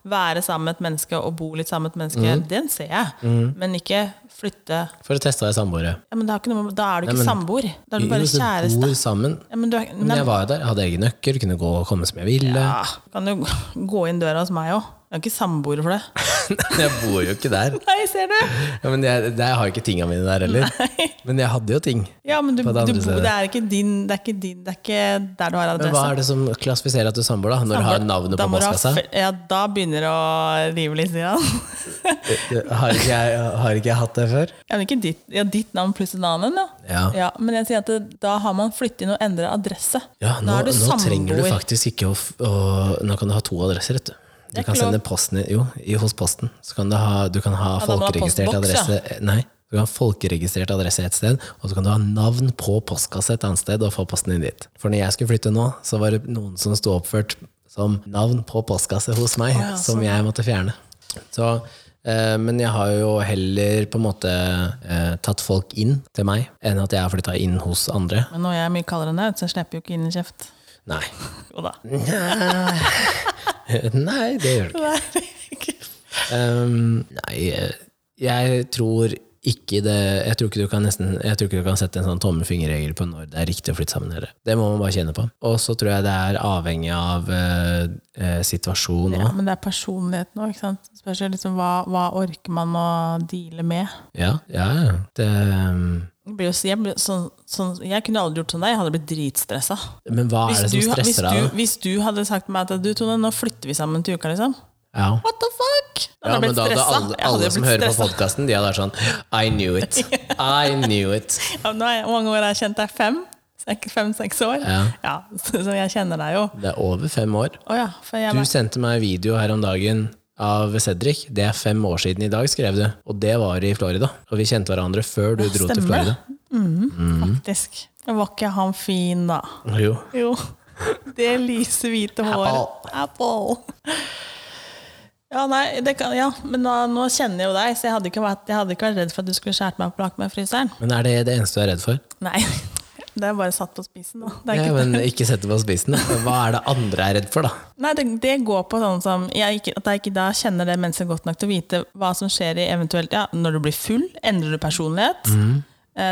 [SPEAKER 2] være sammen med et menneske og bo litt sammen med et menneske,
[SPEAKER 1] Mhm.
[SPEAKER 2] den ser jeg. Men ikke flytte
[SPEAKER 1] For å teste å være samboere.
[SPEAKER 2] ja, men det har ikke noe, med- Da er du
[SPEAKER 1] Nei,
[SPEAKER 2] ikke
[SPEAKER 1] men-
[SPEAKER 2] samboer. Da er du bare
[SPEAKER 1] Jo, så Bor
[SPEAKER 2] kjæreste.
[SPEAKER 1] sammen.
[SPEAKER 2] Ja, men du er, nei,
[SPEAKER 1] Men jeg var jo der, jeg hadde egen nøkkel, kunne gå og komme som jeg ville.
[SPEAKER 2] Ja, kan jo gå inn døra hos meg òg. Jeg er ikke samboer for det.
[SPEAKER 1] jeg bor jo ikke der.
[SPEAKER 2] Nei, ser du!
[SPEAKER 1] Ja, men jeg, jeg har jo ikke tinga mine der heller. Men jeg hadde jo ting.
[SPEAKER 2] Ja, men du,
[SPEAKER 1] På det andre
[SPEAKER 2] du bor,
[SPEAKER 1] stedet.
[SPEAKER 2] det er ikke din Det er ikke din, det er ikke der du har
[SPEAKER 1] Men hva
[SPEAKER 2] adresse.
[SPEAKER 1] er det som klassifiserer at du er samboer, da? Når du har navnet
[SPEAKER 2] Da
[SPEAKER 1] på
[SPEAKER 2] må du ha
[SPEAKER 1] postkassa?
[SPEAKER 2] fe- Ja, da begynner det å rive litt i den.
[SPEAKER 1] Har ikke, jeg, har ikke jeg hatt det før?
[SPEAKER 2] Ja, men ikke ditt, ja, ditt navn pluss et annet, da.
[SPEAKER 1] Ja.
[SPEAKER 2] Ja, men jeg sier at det, da har man flyttet inn og endret adresse.
[SPEAKER 1] ja nå,
[SPEAKER 2] da er du
[SPEAKER 1] nå
[SPEAKER 2] samboer.
[SPEAKER 1] trenger du faktisk ikke å, f- å Nå kan du ha to adresser, vet du. Du
[SPEAKER 2] Det er
[SPEAKER 1] kan
[SPEAKER 2] ikke lov.
[SPEAKER 1] sende posten i, jo, i, hos Posten. Så kan du ha, du kan ha
[SPEAKER 2] Ja, da må du ha
[SPEAKER 1] folkeregistrert
[SPEAKER 2] postboks, ja.
[SPEAKER 1] adresse eh, Nei, du kan ha folkeregistrert adresse et sted, og så kan du ha navn på postkasse et annet sted og få posten inn dit. For når jeg skulle flytte nå, så var det noen som sto oppført som navn på postkasse hos meg, som
[SPEAKER 2] sånn,
[SPEAKER 1] jeg måtte fjerne. Så, eh, men jeg har jo heller på en måte eh, tatt folk inn til meg, enn at jeg har flytta inn hos andre.
[SPEAKER 2] Men nå er jeg mye kaldere enn deg, så jeg slipper jo ikke inn i kjeft.
[SPEAKER 1] Nei.
[SPEAKER 2] Jo da.
[SPEAKER 1] Mm. Nei, det gjør du ikke. Ehm, nei, eh, jeg tror ikke det Jeg tror ikke du kan, nesten, jeg tror ikke du kan sette en sånn tommelfingerregel på når det er riktig å flytte sammen. Eller. Det må man bare kjenne på. Og så tror jeg det er avhengig av eh, eh, situasjon
[SPEAKER 2] Ja,
[SPEAKER 1] òg.
[SPEAKER 2] men det er personligheten òg, ikke sant. Spørs jo liksom hva, hva orker man å deale med.
[SPEAKER 1] Ja, ja, ja. Det, ehm,
[SPEAKER 2] Jeg, blir jo, så- jeg, blir, sånn, sånn, jeg kunne aldri gjort sånn der, jeg hadde blitt dritstressa.
[SPEAKER 1] men hva er det som
[SPEAKER 2] du, hvis,
[SPEAKER 1] stresser deg?
[SPEAKER 2] du,
[SPEAKER 1] da?
[SPEAKER 2] hvis du hadde sagt til meg at du, Tone, nå flytter vi sammen til uka, liksom.
[SPEAKER 1] Ja.
[SPEAKER 2] What the fuck? Da
[SPEAKER 1] Ja,
[SPEAKER 2] hadde jeg
[SPEAKER 1] men
[SPEAKER 2] blitt
[SPEAKER 1] da hadde
[SPEAKER 2] stressa.
[SPEAKER 1] alle,
[SPEAKER 2] Jeg hadde
[SPEAKER 1] alle
[SPEAKER 2] jo
[SPEAKER 1] som
[SPEAKER 2] blitt
[SPEAKER 1] hører på
[SPEAKER 2] stressa.
[SPEAKER 1] podkasten, de hadde vært sånn I knew it! I knew it!
[SPEAKER 2] Ja, nå er jeg, hvor mange år har jeg kjent deg? Fem? Sek- Fem-seks år?
[SPEAKER 1] Ja.
[SPEAKER 2] så, så jeg kjenner deg jo.
[SPEAKER 1] Det er over fem år.
[SPEAKER 2] Å ja, for jeg
[SPEAKER 1] Du
[SPEAKER 2] var
[SPEAKER 1] sendte meg video her om dagen av Cedric. Det er fem år siden i dag, skrev du. Og det var i Florida. Og vi kjente hverandre før du dro til Florida.
[SPEAKER 2] stemmer faktisk Var ikke han fin, da?
[SPEAKER 1] Jo.
[SPEAKER 2] Jo. Det lyse, hvite håret. Apple. Ja, nei, det kan, ja, men nå, nå kjenner jeg jo deg, så jeg hadde, ikke vært, jeg hadde ikke vært redd for at du skulle skjært meg opp lak med fryseren.
[SPEAKER 1] Men er det det eneste du er redd for?
[SPEAKER 2] Nei, det er bare satt på spisen. Da. Det er
[SPEAKER 1] Ja,
[SPEAKER 2] ikke,
[SPEAKER 1] men ikke sette på spissen. da. Hva er det andre er redd for, da?
[SPEAKER 2] nei, det, det går på sånn som jeg ikke, At jeg ikke da kjenner det
[SPEAKER 1] Mm.
[SPEAKER 2] mennesket godt nok til å vite hva som skjer i eventuelt ja, Når du blir full, endrer du personlighet. Eh,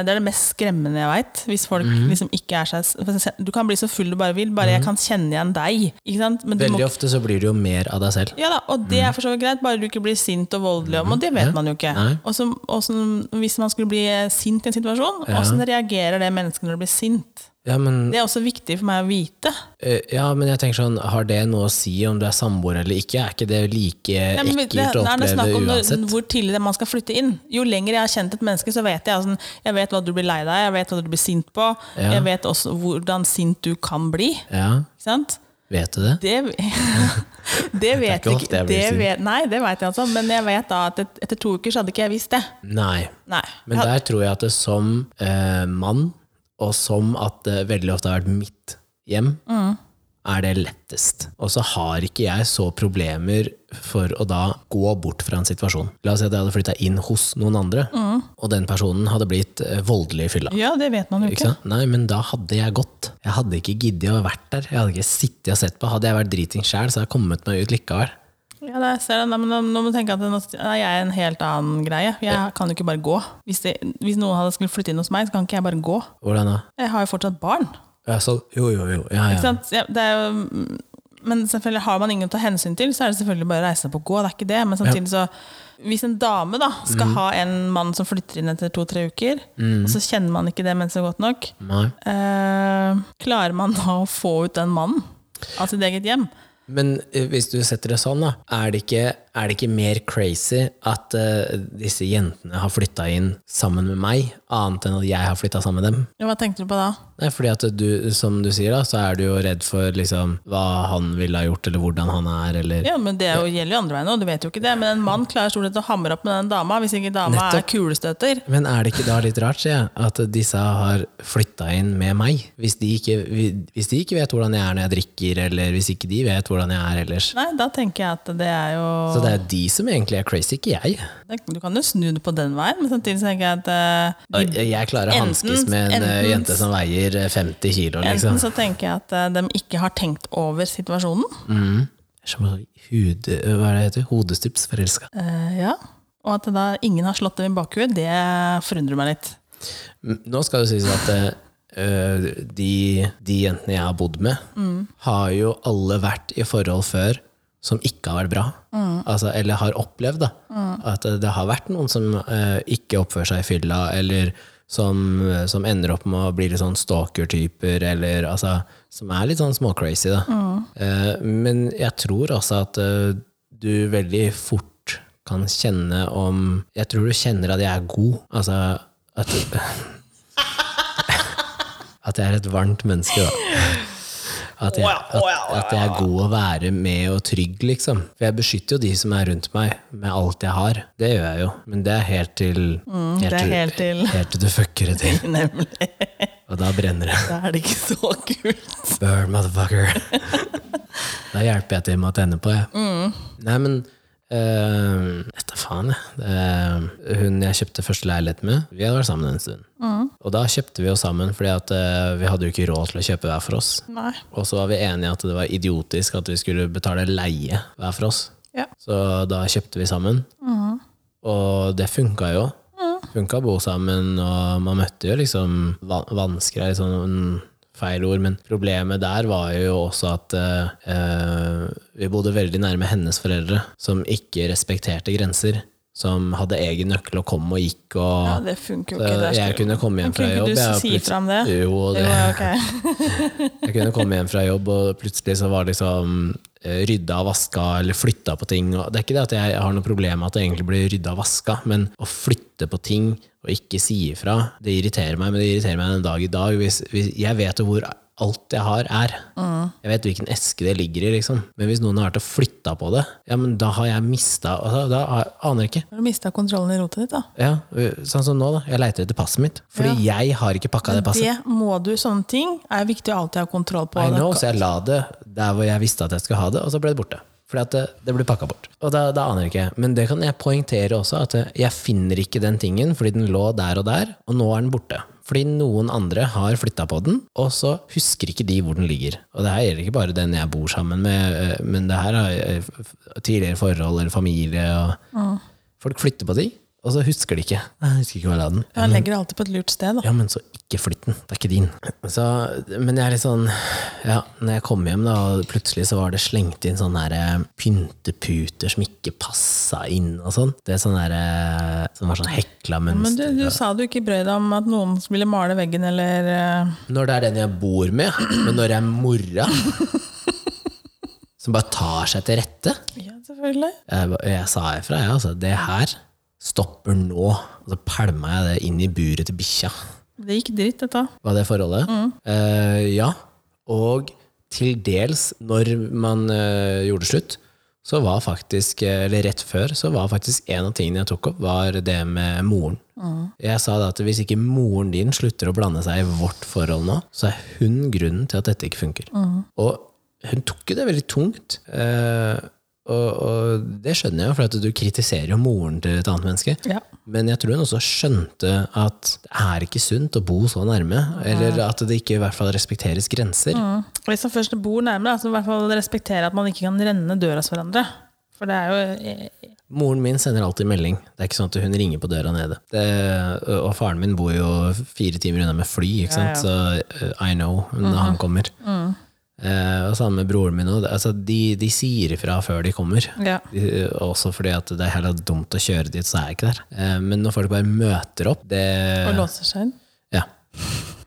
[SPEAKER 2] Det er det mest skremmende jeg veit. Hvis folk liksom ikke er seg for eksempel, Du kan bli så full du bare vil, bare jeg kan kjenne igjen deg. Ikke sant? Men du må
[SPEAKER 1] Mm. Veldig ofte så blir det jo mer av deg selv.
[SPEAKER 2] ja da, og det er for så vidt greit, bare du ikke blir sint og voldelig om, og det vet
[SPEAKER 1] Mm. Ja.
[SPEAKER 2] man jo ikke.
[SPEAKER 1] Nei.
[SPEAKER 2] Og så- og så hvis man skulle bli sint i en situasjon, hvordan reagerer det mennesket når det blir sint?
[SPEAKER 1] Ja men,
[SPEAKER 2] Det er også viktig for meg å vite.
[SPEAKER 1] eh, ja, men jeg tenker sånn, har det noe å si om du er samboer eller ikke? Er ikke det like
[SPEAKER 2] Ja, men det,
[SPEAKER 1] ekkelt
[SPEAKER 2] det
[SPEAKER 1] å
[SPEAKER 2] er det snakk
[SPEAKER 1] oppleve
[SPEAKER 2] om når,
[SPEAKER 1] uansett?
[SPEAKER 2] hvor tidlig det man skal flytte inn. Jo lenger jeg har kjent et menneske, så vet jeg altså, Jeg vet hva du blir lei deg, jeg vet hva du blir sint på,
[SPEAKER 1] Ja.
[SPEAKER 2] jeg vet også hvordan sint du kan bli.
[SPEAKER 1] Ja,
[SPEAKER 2] Ikke sant?
[SPEAKER 1] vet du det?
[SPEAKER 2] Det, det vet
[SPEAKER 1] ikke
[SPEAKER 2] jeg
[SPEAKER 1] ofte
[SPEAKER 2] ikke.
[SPEAKER 1] jeg blir
[SPEAKER 2] Det
[SPEAKER 1] sint.
[SPEAKER 2] vet, nei, det vet jeg altså, men jeg vet da at et, etter to uker så hadde ikke jeg visst det.
[SPEAKER 1] Nei.
[SPEAKER 2] Nei.
[SPEAKER 1] Men der tror jeg at det som eh, mann, og som at det veldig ofte har vært mitt hjem,
[SPEAKER 2] Mm.
[SPEAKER 1] er det lettest. Og så har ikke jeg så problemer for å da gå bort fra en situasjon. La oss si at jeg hadde flytta inn hos noen andre,
[SPEAKER 2] Mm.
[SPEAKER 1] og den personen hadde blitt eh, voldelig i fylla.
[SPEAKER 2] Ja, det vet man jo
[SPEAKER 1] Ikke
[SPEAKER 2] ikke.
[SPEAKER 1] sant? Nei, men da hadde jeg gått. Jeg hadde ikke giddet å vært der. Jeg hadde ikke sittet og sett på. Hadde jeg vært driting sjæl, så hadde jeg kommet meg ut likevel.
[SPEAKER 2] Ja, det ser jeg. Nei, men nå- nå må du tenke at nå er jeg en helt annen greie. Jeg kan jo ikke bare gå. Hvis, det, hvis noen hadde skulle flytte inn hos meg, så kan ikke jeg bare gå.
[SPEAKER 1] Hvordan da?
[SPEAKER 2] Jeg har jo fortsatt barn.
[SPEAKER 1] Ja, så, jo, jo, jo. Ja,
[SPEAKER 2] Ikke
[SPEAKER 1] ja.
[SPEAKER 2] sant? Ja, det er jo, mm, men selvfølgelig har man ingen å ta hensyn til, så er det selvfølgelig bare å reise seg opp og gå. Det er ikke det. Men samtidig så Hvis en dame da
[SPEAKER 1] Mm.
[SPEAKER 2] skal ha en mann som flytter inn etter to-tre uker, og så kjenner man ikke det mennesket godt nok,
[SPEAKER 1] Nei.
[SPEAKER 2] eh, klarer man da å få ut den mannen av sitt eget hjem?
[SPEAKER 1] Men eh, hvis du setter det sånn, da, er det ikke, er det ikke mer crazy at eh, disse jentene har flytta inn sammen med meg, annet enn at jeg har flytta sammen med dem?
[SPEAKER 2] Ja, Hva tenkte du på da?
[SPEAKER 1] Nei, fordi at du, som du sier, da, så er du jo redd for liksom, hva han ville ha gjort, eller hvordan han er, eller
[SPEAKER 2] Ja, men Det er jo, gjelder jo andre veien òg, du vet jo ikke det. Men en mann klarer stort sett å hamre opp med den dama, hvis ikke dama er kulestøter.
[SPEAKER 1] Men er det ikke da litt rart, sier jeg, at disse har flytta inn med meg? Hvis de, ikke, hvis de ikke vet hvordan jeg er når jeg drikker, eller hvis ikke de vet hvordan jeg er ellers.
[SPEAKER 2] Nei, da tenker jeg at det er jo
[SPEAKER 1] Så det er de som egentlig er crazy, ikke jeg.
[SPEAKER 2] det- Du kan jo snu det på den veien, men samtidig så tenker jeg at eh,
[SPEAKER 1] Jeg jeg klarer å
[SPEAKER 2] Enten-
[SPEAKER 1] hanskes med en eh,
[SPEAKER 2] enten-
[SPEAKER 1] jente som veier eh, 50 kilo, liksom.
[SPEAKER 2] enten så tenker jeg at eh, de ikke har tenkt over situasjonen.
[SPEAKER 1] Som en hud, eh, hva er det heter? Hodestups forelska.
[SPEAKER 2] Eh, ja. Og at da ingen har slått dem i bakhuet, det forundrer meg litt.
[SPEAKER 1] M- Nå skal det sies at eh, ø, de, de jentene jeg har bodd med, har jo alle vært i forhold før som ikke har vært bra. Altså, eller har opplevd da. at det har vært noen som eh, ikke oppfører seg i fylla, eller som, eh, som ender opp med å bli litt sånn stalker-typer, eller altså Som er litt sånn småcrazy, da. Eh, men jeg tror også at eh, du veldig fort kan kjenne om Jeg tror du kjenner at jeg er god. Altså at at jeg er et varmt menneske, da. At jeg, at, at jeg er god å være med og trygg, liksom. For jeg beskytter jo de som er rundt meg, med alt jeg har. Det gjør jeg jo. Men det er helt til
[SPEAKER 2] Mm, det er helt til-
[SPEAKER 1] helt til du fucker det til.
[SPEAKER 2] Nemlig.
[SPEAKER 1] Og da brenner det.
[SPEAKER 2] Da er det ikke så kult.
[SPEAKER 1] Burn, motherfucker. da hjelper jeg til med å tenne på, jeg. Nei, men eh, Dette faen, jeg. Det er eh, hun jeg kjøpte første leilighet med, vi hadde vært sammen en stund. Og da kjøpte vi jo sammen, fordi at eh, vi hadde jo ikke råd til å kjøpe hver for oss.
[SPEAKER 2] Nei.
[SPEAKER 1] Og så var vi enige at det var idiotisk at vi skulle betale leie hver for oss.
[SPEAKER 2] Ja.
[SPEAKER 1] Så da kjøpte vi sammen.
[SPEAKER 2] Mm.
[SPEAKER 1] Og det funka jo. Funka å bo sammen, og man møtte jo liksom va- vansker er litt sånn en feil ord, men problemet der var jo også at eh, eh, vi bodde veldig nærme hennes foreldre, som ikke respekterte grenser. Som hadde egen nøkkel og kom og gikk og
[SPEAKER 2] Ja, det funker jo
[SPEAKER 1] Så
[SPEAKER 2] ikke. Det er
[SPEAKER 1] Jeg
[SPEAKER 2] så-
[SPEAKER 1] kunne komme hjem
[SPEAKER 2] Men
[SPEAKER 1] fra
[SPEAKER 2] kunne ikke
[SPEAKER 1] jobb.
[SPEAKER 2] du
[SPEAKER 1] jeg, og
[SPEAKER 2] si
[SPEAKER 1] plutselig-
[SPEAKER 2] fra om det?
[SPEAKER 1] Jo, det,
[SPEAKER 2] Jo, ja, ok.
[SPEAKER 1] jeg kunne komme hjem fra jobb, og plutselig så var det liksom eh, rydda og vaska, eller flytta på ting. Og det er ikke det at jeg har noe problem med at det egentlig blir rydda og vaska, men å flytte på ting og ikke si ifra, det irriterer meg. Men det irriterer meg den dag i dag. Hvis, hvis jeg vet jo hvor alt jeg har, er. Jeg vet hvilken eske det ligger i, liksom. Men hvis noen har vært og flytta på det, ja, men da har jeg mista altså, Da har- aner jeg ikke.
[SPEAKER 2] Har du mista kontrollen i rotet ditt, da?
[SPEAKER 1] Ja, sånn som nå, da. Jeg leiter etter passet mitt. Fordi jeg har ikke pakka det passet.
[SPEAKER 2] Det må du, sånne ting er viktig å alltid ha kontroll på.
[SPEAKER 1] I
[SPEAKER 2] Det-
[SPEAKER 1] know, så jeg la det der hvor jeg visste at jeg skulle ha det, og så ble det borte. Fordi at det, det ble pakka bort. Og da, da aner jeg ikke. Men det kan jeg poengtere også, at eh, jeg finner ikke den tingen fordi den lå der og der, og nå er den borte. Fordi noen andre har flytta på den, og så husker ikke de hvor den ligger. Og det her gjelder ikke bare den jeg bor sammen med, øh, men det her er øh, f- tidligere forhold eller familie. Og Folk flytter på ting. Og så husker de ikke. Nei, Jeg husker ikke hvor jeg la den.
[SPEAKER 2] Jeg legger det alltid på et lurt sted, da.
[SPEAKER 1] Ja, men så ikke flytt den. Det er ikke din. Så, men jeg er litt sånn Ja, når jeg kom hjem, da, og plutselig så var det slengt inn sånne der, eh, pynteputer som ikke passa inn og sånn. Det er sånne der, eh, som var sånn hekla
[SPEAKER 2] Men du,
[SPEAKER 1] mønster.
[SPEAKER 2] du sa du ikke brød deg om at noen ville male veggen, eller eh,
[SPEAKER 1] Når det er den jeg bor med, men når det er mora som bare tar seg til rette
[SPEAKER 2] Ja, selvfølgelig.
[SPEAKER 1] Jeg, ba- jeg sa ifra, jeg, altså. Det her stopper nå. Og så pælma jeg det inn i buret til bikkja.
[SPEAKER 2] Det gikk dritt, dette.
[SPEAKER 1] var det forholdet. Eh, ja. Og til dels, når man eh, gjorde slutt, så var faktisk, eh, eller rett før, så var faktisk en av tingene jeg tok opp, var det med moren. Jeg sa da at hvis ikke moren din slutter å blande seg i vårt forhold nå, så er hun grunnen til at dette ikke funker. Og hun tok jo det veldig tungt. eh, og, og det skjønner jeg, jo, for at du kritiserer jo moren til et annet menneske.
[SPEAKER 2] Ja.
[SPEAKER 1] Men jeg tror hun også skjønte at det er ikke sunt å bo så nærme. Eller at det ikke i hvert fall respekteres grenser.
[SPEAKER 2] Mm. Hvis man først bor nærme, da, så i hvert fall respektere at man ikke kan renne døra hos hverandre. For det er jo eh,
[SPEAKER 1] Moren min sender alltid melding. Det er ikke sånn at hun ringer på døra nede. Det, og faren min bor jo fire timer unna med fly, ikke sant? så uh, I know når
[SPEAKER 2] Mhm.
[SPEAKER 1] han kommer.
[SPEAKER 2] Mm.
[SPEAKER 1] Eh, og samme med broren min. også. Altså, de, de sier ifra før de kommer.
[SPEAKER 2] Ja.
[SPEAKER 1] Eh, Også fordi at det er heller dumt å kjøre dit, så er jeg ikke der. Eh, Men når folk bare møter opp, det
[SPEAKER 2] Og låser seg inn.
[SPEAKER 1] Ja.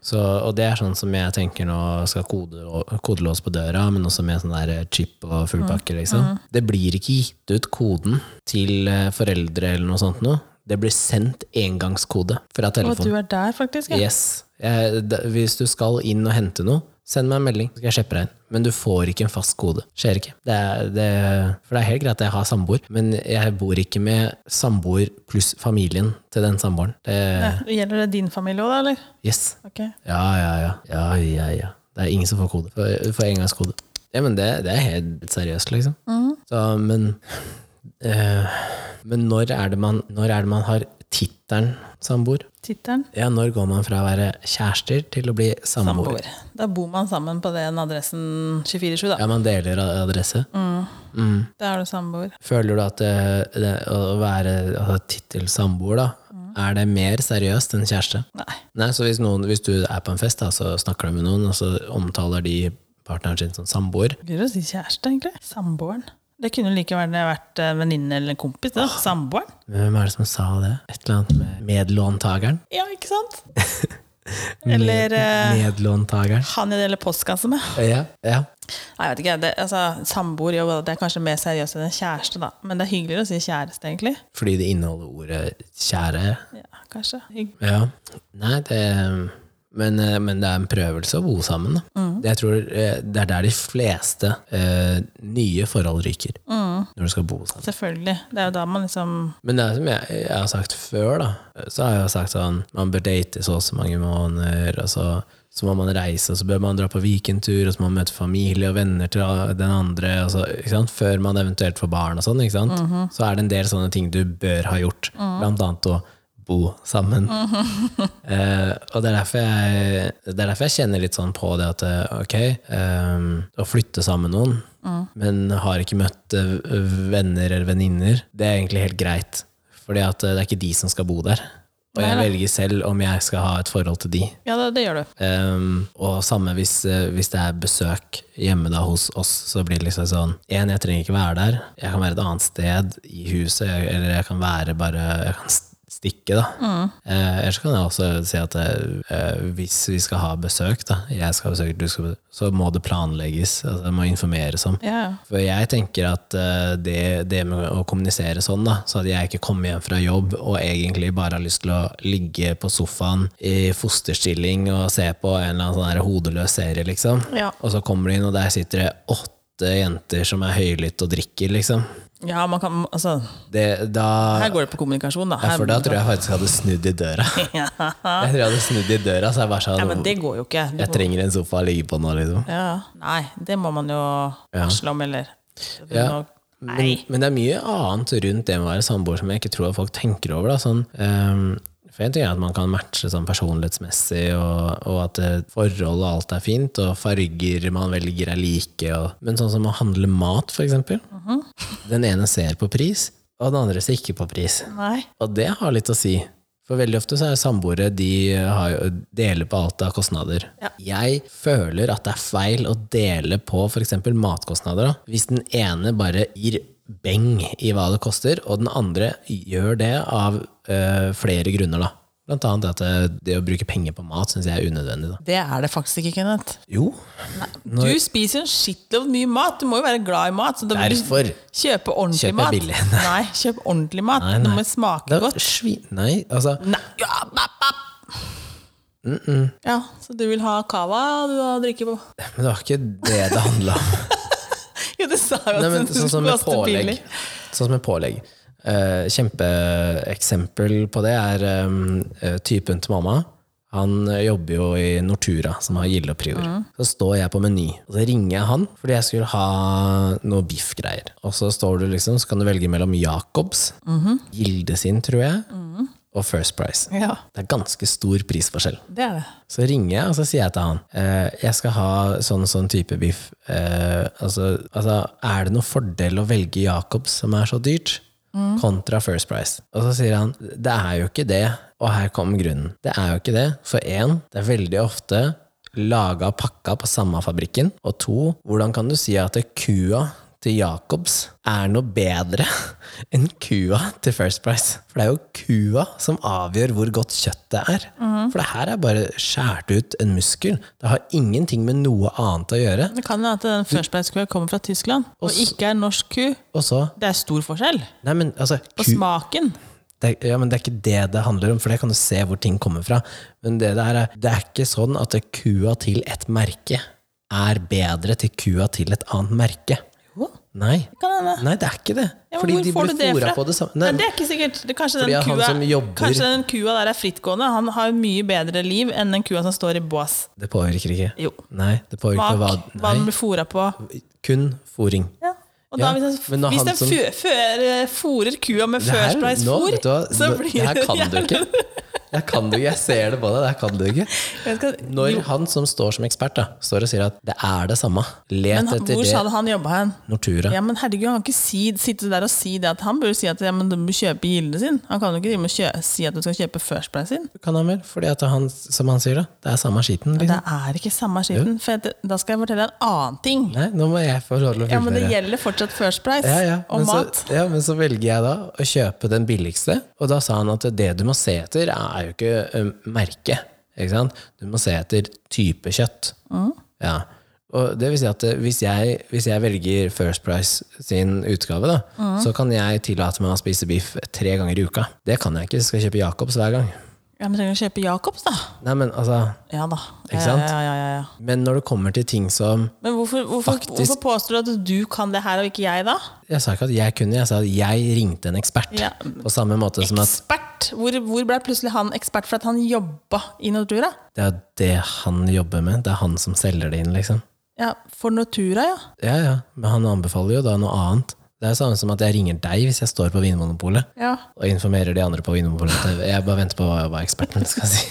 [SPEAKER 1] Så, og det er sånn som jeg tenker nå skal kode, kodelås på døra, men også med sånn der chip og full
[SPEAKER 2] Mm.
[SPEAKER 1] pakke. Liksom. Det blir ikke gitt ut koden til eh, foreldre eller noe sånt nå. Det blir sendt engangskode fra
[SPEAKER 2] Og at du
[SPEAKER 1] telefonen.
[SPEAKER 2] er der, faktisk. Ja.
[SPEAKER 1] Yes. Jeg, da, hvis du skal inn og hente noe, send meg en melding, så skal jeg kjeppe deg inn. Men du får ikke en fast kode. Skjer ikke. Det er, det, for det er helt greit at jeg har samboer, men jeg bor ikke med samboer pluss familien til den samboeren. Det,
[SPEAKER 2] Gjelder det din familie òg, da? eller?
[SPEAKER 1] yes.
[SPEAKER 2] Ok.
[SPEAKER 1] Ja, ja, ja. ja, ja, ja. Det er ingen som får kode. For, for engangskode. Ja, men det, det er helt seriøst, liksom. Så, men eh, Men når er det man, når er det man har tittelen samboer?
[SPEAKER 2] Tittelen?
[SPEAKER 1] Ja, når går man fra å være kjærester til å bli samboer?
[SPEAKER 2] Samboer. Da bor man sammen på den adressen 24-7, da.
[SPEAKER 1] Ja, man deler a- adresse.
[SPEAKER 2] Da er du samboer.
[SPEAKER 1] Føler du at det, det, å være altså, tittel samboer, da, er det mer seriøst enn kjæreste?
[SPEAKER 2] Nei.
[SPEAKER 1] Nei, så hvis, noen, hvis du er på en fest, da, så snakker du med noen, og så omtaler de partneren sin som samboer,
[SPEAKER 2] Gøy å si kjæreste, egentlig. Samboeren. Det kunne like gjerne vært eh, venninne eller en kompis. da. Samboeren.
[SPEAKER 1] Men Hvem er det som sa det? Et eller annet med medlåntakeren?
[SPEAKER 2] Ja, ikke sant? Eller eh,
[SPEAKER 1] Medlåntakeren.
[SPEAKER 2] han jeg deler postkasse med.
[SPEAKER 1] Ja, ja.
[SPEAKER 2] Nei, jeg vet ikke. Det, altså, samboer jo, det er kanskje mer seriøst enn en kjæreste, da. Men det er hyggeligere å si kjæreste, egentlig.
[SPEAKER 1] Fordi det inneholder ordet kjære.
[SPEAKER 2] Ja, kanskje. Hygg.
[SPEAKER 1] Ja. Nei, det men, eh, men det er en prøvelse å bo sammen. Da. Det Jeg tror eh, det er der de fleste eh, nye forhold ryker. Når du skal bo sammen.
[SPEAKER 2] Selvfølgelig. Det er jo da man liksom
[SPEAKER 1] Men det er som jeg, jeg har sagt før, da. Så har jeg jo sagt sånn Man bør date så og så mange måneder, og så, så må man reise, og så bør man dra på weekendtur, og så må man møte familie og venner til den andre, og så, ikke sant? før man eventuelt får barn og sånn. ikke sant? Så er det en del sånne ting du bør ha gjort, blant annet å bo sammen. Eh, og det er, derfor jeg, det er derfor jeg kjenner litt sånn på det at eh, ok, eh, å flytte sammen med noen,
[SPEAKER 2] Mm.
[SPEAKER 1] men har ikke møtt eh, venner eller venninner, det er egentlig helt greit. Fordi at eh, det er ikke de som skal bo der. Og jeg
[SPEAKER 2] Nei da.
[SPEAKER 1] velger selv om jeg skal ha et forhold til de.
[SPEAKER 2] Ja, det, det gjør du.
[SPEAKER 1] Ehm, og samme hvis, eh, hvis det er besøk hjemme da hos oss, så blir det liksom sånn En, jeg trenger ikke være der. Jeg kan være et annet sted i huset, jeg- eller jeg kan være bare Jeg kan s- stikke, da. Eh, Ellers kan jeg også si at eh, hvis vi skal ha besøk, da, jeg skal ha besøk, du skal ha besøk, så må det planlegges. Altså, det må informeres om.
[SPEAKER 2] Ja, ja.
[SPEAKER 1] For jeg tenker at eh, det, det med å kommunisere sånn, da, så hadde jeg ikke kommet hjem fra jobb og egentlig bare har lyst til å ligge på sofaen i fosterstilling og se på en eller annen sånn her hodeløs serie, liksom.
[SPEAKER 2] Ja.
[SPEAKER 1] Og så kommer du inn, og der sitter det åtte jenter som er høylytte og drikker, liksom.
[SPEAKER 2] ja, man kan Altså,
[SPEAKER 1] Det, da,
[SPEAKER 2] her går det på kommunikasjon, da.
[SPEAKER 1] ja,
[SPEAKER 2] Her,
[SPEAKER 1] for da tror jeg faktisk jeg hadde snudd i døra.
[SPEAKER 2] ja.
[SPEAKER 1] Jeg tror jeg hadde snudd i døra, så jeg bare
[SPEAKER 2] ja, men
[SPEAKER 1] sånn
[SPEAKER 2] det går jo ikke. Du
[SPEAKER 1] Jeg trenger en sofa å ligge på nå, liksom.
[SPEAKER 2] Ja. Nei, det må man jo varsle om, eller
[SPEAKER 1] Ja.
[SPEAKER 2] Nei.
[SPEAKER 1] Men, men det er mye annet rundt det med å være samboer som jeg ikke tror at folk tenker over. Da. Sånn, ehm, for en ting er at man kan matche sånn personlighetsmessig, og, og at eh, forhold og alt er fint, og farger man velger er like. Og, men sånn som å handle mat, for eksempel. Den ene ser på pris, og den andre ser ikke på pris.
[SPEAKER 2] Nei.
[SPEAKER 1] Og det har litt å si. For veldig ofte så er jo samboere de har jo, deler på alt av kostnader. Jeg føler at det er feil å dele på f.eks. matkostnader. Da. Hvis den ene bare gir beng i hva det koster, og den andre gjør det av øh, flere grunner. da. Blant annet at eh, det, det å bruke penger på mat syns jeg er unødvendig. da.
[SPEAKER 2] Det er det faktisk ikke, Kenneth.
[SPEAKER 1] Jo,
[SPEAKER 2] Du spiser en shitload mye mat. Du må jo være glad i mat. Så da vil du
[SPEAKER 1] derfor.
[SPEAKER 2] kjøpe ordentlig
[SPEAKER 1] Kjøper
[SPEAKER 2] mat.
[SPEAKER 1] billig.
[SPEAKER 2] Nei, kjøp ordentlig mat.
[SPEAKER 1] Nei, nei.
[SPEAKER 2] Det må smake
[SPEAKER 1] Da,
[SPEAKER 2] godt.
[SPEAKER 1] svi- nei, altså
[SPEAKER 2] Nei. Ja, bap, bap. ja, så du vil ha cava du har drikke på?
[SPEAKER 1] Men det var ikke det det handla om.
[SPEAKER 2] Jo, det sa jo at
[SPEAKER 1] Nei, men,
[SPEAKER 2] det
[SPEAKER 1] sånn som med
[SPEAKER 2] koster
[SPEAKER 1] pålegg.
[SPEAKER 2] billig.
[SPEAKER 1] Sånn som med pålegg. Eh, kjempeeksempel på det er eh, typen til mamma. Han eh, jobber jo i Nortura, som har Gilde og Prior.
[SPEAKER 2] Mm.
[SPEAKER 1] Så står jeg på Meny, og så ringer jeg han fordi jeg skulle ha noe biffgreier. Og så står du liksom, så kan du velge mellom Jacobs,
[SPEAKER 2] Mhm.
[SPEAKER 1] Gilde sin, tror jeg,
[SPEAKER 2] Mm.
[SPEAKER 1] og First Price.
[SPEAKER 2] Ja,
[SPEAKER 1] Det er ganske stor prisforskjell.
[SPEAKER 2] det er det.
[SPEAKER 1] Så ringer jeg, og så sier jeg til han eh, Jeg skal ha sånn sånn type biff. Eh, altså, altså, er det noen fordel å velge Jacobs, som er så dyrt, kontra First Price? Og så sier han det er jo ikke det, og her kom grunnen. Det er jo ikke det. For én, det er veldig ofte laga og pakka på samme fabrikken. Og to, hvordan kan du si at kua til Jacobs er noe bedre enn kua til First Price. For det er jo kua som avgjør hvor godt kjøttet er. For det her er bare skjært ut en muskel. Det har ingenting med noe annet å gjøre.
[SPEAKER 2] Det kan hende at den First Price-kua kommer fra Tyskland, og ikke er norsk ku.
[SPEAKER 1] Og så
[SPEAKER 2] Det er stor forskjell
[SPEAKER 1] Nei, men altså
[SPEAKER 2] på
[SPEAKER 1] ku,
[SPEAKER 2] smaken.
[SPEAKER 1] det, er- ja, men det er ikke det det handler om, for det kan du se hvor ting kommer fra. Men det der er Det er ikke sånn at kua til et merke er bedre til kua til et annet merke.
[SPEAKER 2] Jo,
[SPEAKER 1] Nei.
[SPEAKER 2] det kan hende.
[SPEAKER 1] Nei, det er ikke det.
[SPEAKER 2] Ja, men
[SPEAKER 1] Fordi
[SPEAKER 2] hvor
[SPEAKER 1] de
[SPEAKER 2] får
[SPEAKER 1] blir
[SPEAKER 2] du det
[SPEAKER 1] fôra
[SPEAKER 2] fra?
[SPEAKER 1] på det samme.
[SPEAKER 2] Nei,
[SPEAKER 1] Nei,
[SPEAKER 2] det er ikke sikkert. Det, kanskje,
[SPEAKER 1] Fordi
[SPEAKER 2] den
[SPEAKER 1] han
[SPEAKER 2] kua,
[SPEAKER 1] som jobber-
[SPEAKER 2] kanskje den kua der er frittgående. Han har jo mye bedre liv enn den kua som står i bås.
[SPEAKER 1] det påvirker ikke.
[SPEAKER 2] Jo.
[SPEAKER 1] Nei, det påvirker
[SPEAKER 2] Bak,
[SPEAKER 1] hva
[SPEAKER 2] hva
[SPEAKER 1] Nei,
[SPEAKER 2] den blir fôra på.
[SPEAKER 1] kun fôring.
[SPEAKER 2] Ja. Og
[SPEAKER 1] Ja,
[SPEAKER 2] da,
[SPEAKER 1] men
[SPEAKER 2] hvis den,
[SPEAKER 1] når
[SPEAKER 2] hvis
[SPEAKER 1] han
[SPEAKER 2] den
[SPEAKER 1] som-
[SPEAKER 2] fø- fø- fôrer kua med
[SPEAKER 1] Det her,
[SPEAKER 2] First
[SPEAKER 1] nå,
[SPEAKER 2] Price-fôr,
[SPEAKER 1] vet du hva,
[SPEAKER 2] så
[SPEAKER 1] nå-
[SPEAKER 2] blir
[SPEAKER 1] det her kan du
[SPEAKER 2] jævlig-
[SPEAKER 1] ikke. Det her kan du ikke, Jeg ser det på deg, det her kan du ikke.
[SPEAKER 2] Jeg skal-
[SPEAKER 1] Når han som står som ekspert, da, står og sier at det er det samme, let
[SPEAKER 2] Men han-
[SPEAKER 1] etter
[SPEAKER 2] hvor
[SPEAKER 1] det
[SPEAKER 2] sa du han jobba hen?
[SPEAKER 1] Nortura.
[SPEAKER 2] Ja, men herregud, Han kan ikke si, sitte der og si det at han burde si at ja, men du må kjøpe gilden sin. Han kan jo ikke drive med å kjø, si at du skal kjøpe First Price sin.
[SPEAKER 1] Kan han vel? Fordi at han, som han sier, da, det er samme skiten.
[SPEAKER 2] Det
[SPEAKER 1] Liksom.
[SPEAKER 2] er ikke samme skitten. For at, da skal jeg fortelle deg en annen ting.
[SPEAKER 1] Nei, nå må jeg få lov til å
[SPEAKER 2] Ja, men
[SPEAKER 1] fullføre.
[SPEAKER 2] det gjelder fortsatt First Price
[SPEAKER 1] Ja, ja.
[SPEAKER 2] og
[SPEAKER 1] Men,
[SPEAKER 2] mat.
[SPEAKER 1] så, ja, men så velger jeg da å kjøpe den billigste, og da sa han at det du må se etter, er jo ikke ø, merke. Ikke sant? Du må se etter type kjøtt.
[SPEAKER 2] Mm.
[SPEAKER 1] Ja. Og det vil si at ø, hvis jeg, hvis jeg velger First Price sin utgave, da,
[SPEAKER 2] Mm.
[SPEAKER 1] så kan jeg tillate meg å spise biff tre ganger i uka. Det kan jeg ikke, så skal jeg kjøpe Jacobs hver gang.
[SPEAKER 2] Ja, men trenger du kjøpe Jacobs, da?
[SPEAKER 1] Nei, men altså
[SPEAKER 2] Ja da.
[SPEAKER 1] Ikke sant?
[SPEAKER 2] Ja, ja, ja, ja, ja.
[SPEAKER 1] Men når det kommer til ting som
[SPEAKER 2] Men hvorfor, hvorfor,
[SPEAKER 1] Faktisk-
[SPEAKER 2] hvorfor påstår du at du kan det her, og ikke jeg, da?
[SPEAKER 1] Jeg sa ikke at jeg kunne, jeg sa at jeg ringte en ekspert.
[SPEAKER 2] Ja.
[SPEAKER 1] På samme måte som at
[SPEAKER 2] Ekspert! Hvor, hvor ble plutselig han ekspert for at han jobba i Nortura?
[SPEAKER 1] det er det han jobber med, det er han som selger det inn, liksom.
[SPEAKER 2] Ja, For Nortura, ja.
[SPEAKER 1] Ja, ja, men han anbefaler jo da noe annet. Det er jo samme som at jeg ringer deg hvis jeg står på Vinmonopolet
[SPEAKER 2] ja.
[SPEAKER 1] og informerer de andre på Vinmonopolet. at Jeg bare venter på hva, hva eksperten skal si.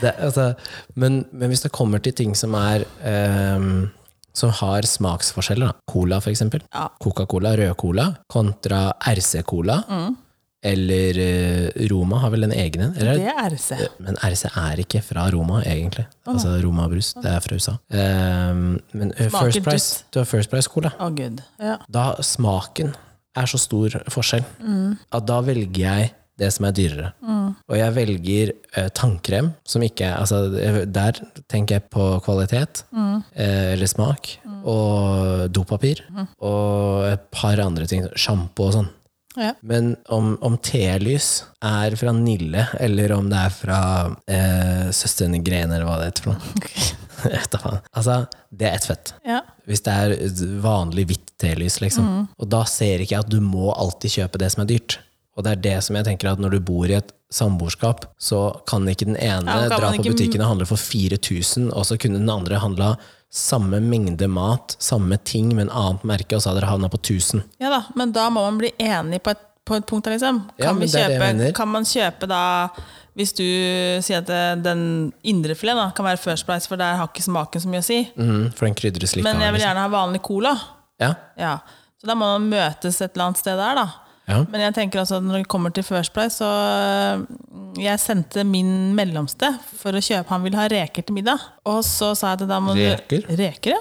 [SPEAKER 1] Det, altså, men, men hvis det kommer til ting som er ehm, som har smaksforskjeller, da. Cola for eksempel.
[SPEAKER 2] Ja.
[SPEAKER 1] Coca-Cola, rød cola, kontra RC-cola.
[SPEAKER 2] Mm.
[SPEAKER 1] Eller eh, Roma har vel en egen en? Eller er det
[SPEAKER 2] Det er RC.
[SPEAKER 1] men RC er ikke fra Roma, egentlig. Altså Roma brus, det er fra USA. Ehm, men eh,
[SPEAKER 2] Smaker
[SPEAKER 1] First Price,
[SPEAKER 2] dritt.
[SPEAKER 1] du har First Price Cola.
[SPEAKER 2] Å, gud. Ja.
[SPEAKER 1] Da smaken er så stor forskjell, at da velger jeg det som er dyrere. Og jeg velger eh, tannkrem, som ikke er Altså, der tenker jeg på kvalitet, eh, eller smak, og dopapir, og et par andre ting, sjampo og sånn.
[SPEAKER 2] Ja.
[SPEAKER 1] Men om, om telys er fra Nille, eller om det er fra eh, Søstrene Grene, eller hva det heter for noe. Jeg vet da faen. Altså, det er ett fett.
[SPEAKER 2] ja.
[SPEAKER 1] Hvis det er vanlig hvitt telys, liksom.
[SPEAKER 2] Mm.
[SPEAKER 1] Og da ser ikke jeg at du må alltid kjøpe det som er dyrt. Og det er det som jeg tenker at når du bor i et samboerskap, så kan ikke den ene
[SPEAKER 2] Ja, kan
[SPEAKER 1] dra
[SPEAKER 2] man
[SPEAKER 1] på
[SPEAKER 2] ikke-
[SPEAKER 1] butikken og handle for 4000, og så kunne den andre handla samme mengde mat, samme ting, men annet merke, og så hadde dere havna på 1000.
[SPEAKER 2] ja da, men da må man bli enig på et, på et punkt, da, liksom. Kan,
[SPEAKER 1] Ja, men det
[SPEAKER 2] vi
[SPEAKER 1] er det jeg
[SPEAKER 2] kjøpe,
[SPEAKER 1] mener.
[SPEAKER 2] kan man kjøpe da Hvis du sier at det- den indrefilet da, kan være First Price, for der har ikke smaken så mye å si,
[SPEAKER 1] Mhm, Mm, for den krydres litt
[SPEAKER 2] men
[SPEAKER 1] av,
[SPEAKER 2] jeg vil
[SPEAKER 1] liksom.
[SPEAKER 2] gjerne ha vanlig cola,
[SPEAKER 1] Ja.
[SPEAKER 2] ja. Så da må man møtes et eller annet sted der, da.
[SPEAKER 1] Ja.
[SPEAKER 2] Men jeg tenker også at når det kommer til First Price, så eh, Jeg sendte min mellomste for å kjøpe Han ville ha reker til middag. Og så sa jeg at da må
[SPEAKER 1] Reker?
[SPEAKER 2] du Reker, ja.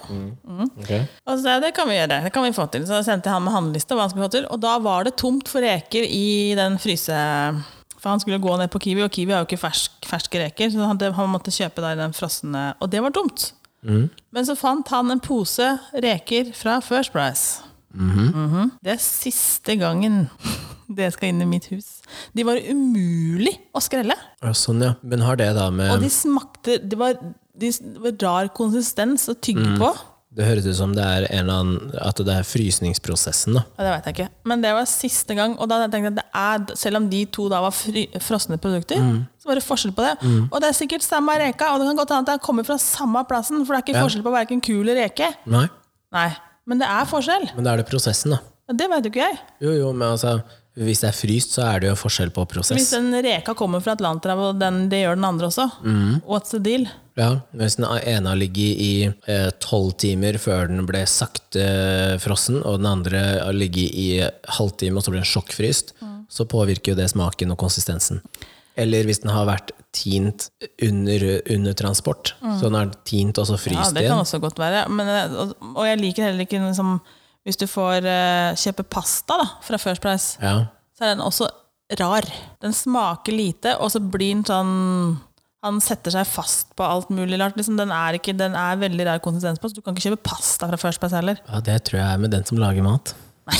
[SPEAKER 1] Ok.
[SPEAKER 2] Og så sa jeg det kan vi gjøre. det kan vi få til. Så da sendte jeg han med handleliste. hva han skulle få til, Og da var det tomt for reker i den fryse... For han skulle gå ned på Kiwi, og Kiwi har jo ikke fersk, ferske reker. Så han, han måtte kjøpe da i den frosne Og det var tomt. Men så fant han en pose reker fra First Price. Mhm. Det er siste gangen det skal inn i mitt hus. De var umulig å skrelle.
[SPEAKER 1] Ja, sånn, ja. Men har det da med
[SPEAKER 2] Og de smakte Det var, de, det var rar konsistens å tygge på.
[SPEAKER 1] Det høres ut som det er en eller annen At det er frysningsprosessen, da.
[SPEAKER 2] Ja, det vet jeg ikke. Men det var siste gang. Og da tenkte jeg at det er, selv om de to da var fry, frosne produkter, så var det forskjell på det. Og det er sikkert samme reka, og det kan godt hende at det kommer fra samme plassen, for det er ikke forskjell på hverken ku eller reke.
[SPEAKER 1] Nei.
[SPEAKER 2] Nei, men det er forskjell.
[SPEAKER 1] Men da er det prosessen, da.
[SPEAKER 2] Og Det vet jo ikke jeg.
[SPEAKER 1] Jo, jo, men altså Hvis det er fryst, så er det jo forskjell på
[SPEAKER 2] Hvis
[SPEAKER 1] prosess.
[SPEAKER 2] den reka kommer fra Atlanterhavet, og den, det gjør den andre også, what's the deal?
[SPEAKER 1] Ja, Hvis den ene har ligget i eh, tolv timer før den ble sakte eh, frossen, og den andre har ligget i halvtime og så ble den sjokkfryst, så påvirker jo det smaken og konsistensen. Eller hvis den har vært tint under, under transport, så den har tint og så
[SPEAKER 2] Ja,
[SPEAKER 1] fryst
[SPEAKER 2] det kan
[SPEAKER 1] igjen.
[SPEAKER 2] også godt være. Men, eh, og, og jeg liker heller ikke liksom, hvis du får eh, kjøpe pasta da, fra First Price.
[SPEAKER 1] Ja,
[SPEAKER 2] så er den også rar. Den smaker lite, og så blir den sånn Han setter seg fast på alt mulig rart. Liksom, den, er ikke, den er veldig rar konsistens på, så du kan ikke kjøpe pasta fra First Price heller.
[SPEAKER 1] ja, det tror jeg er med den som lager mat.
[SPEAKER 2] Nei,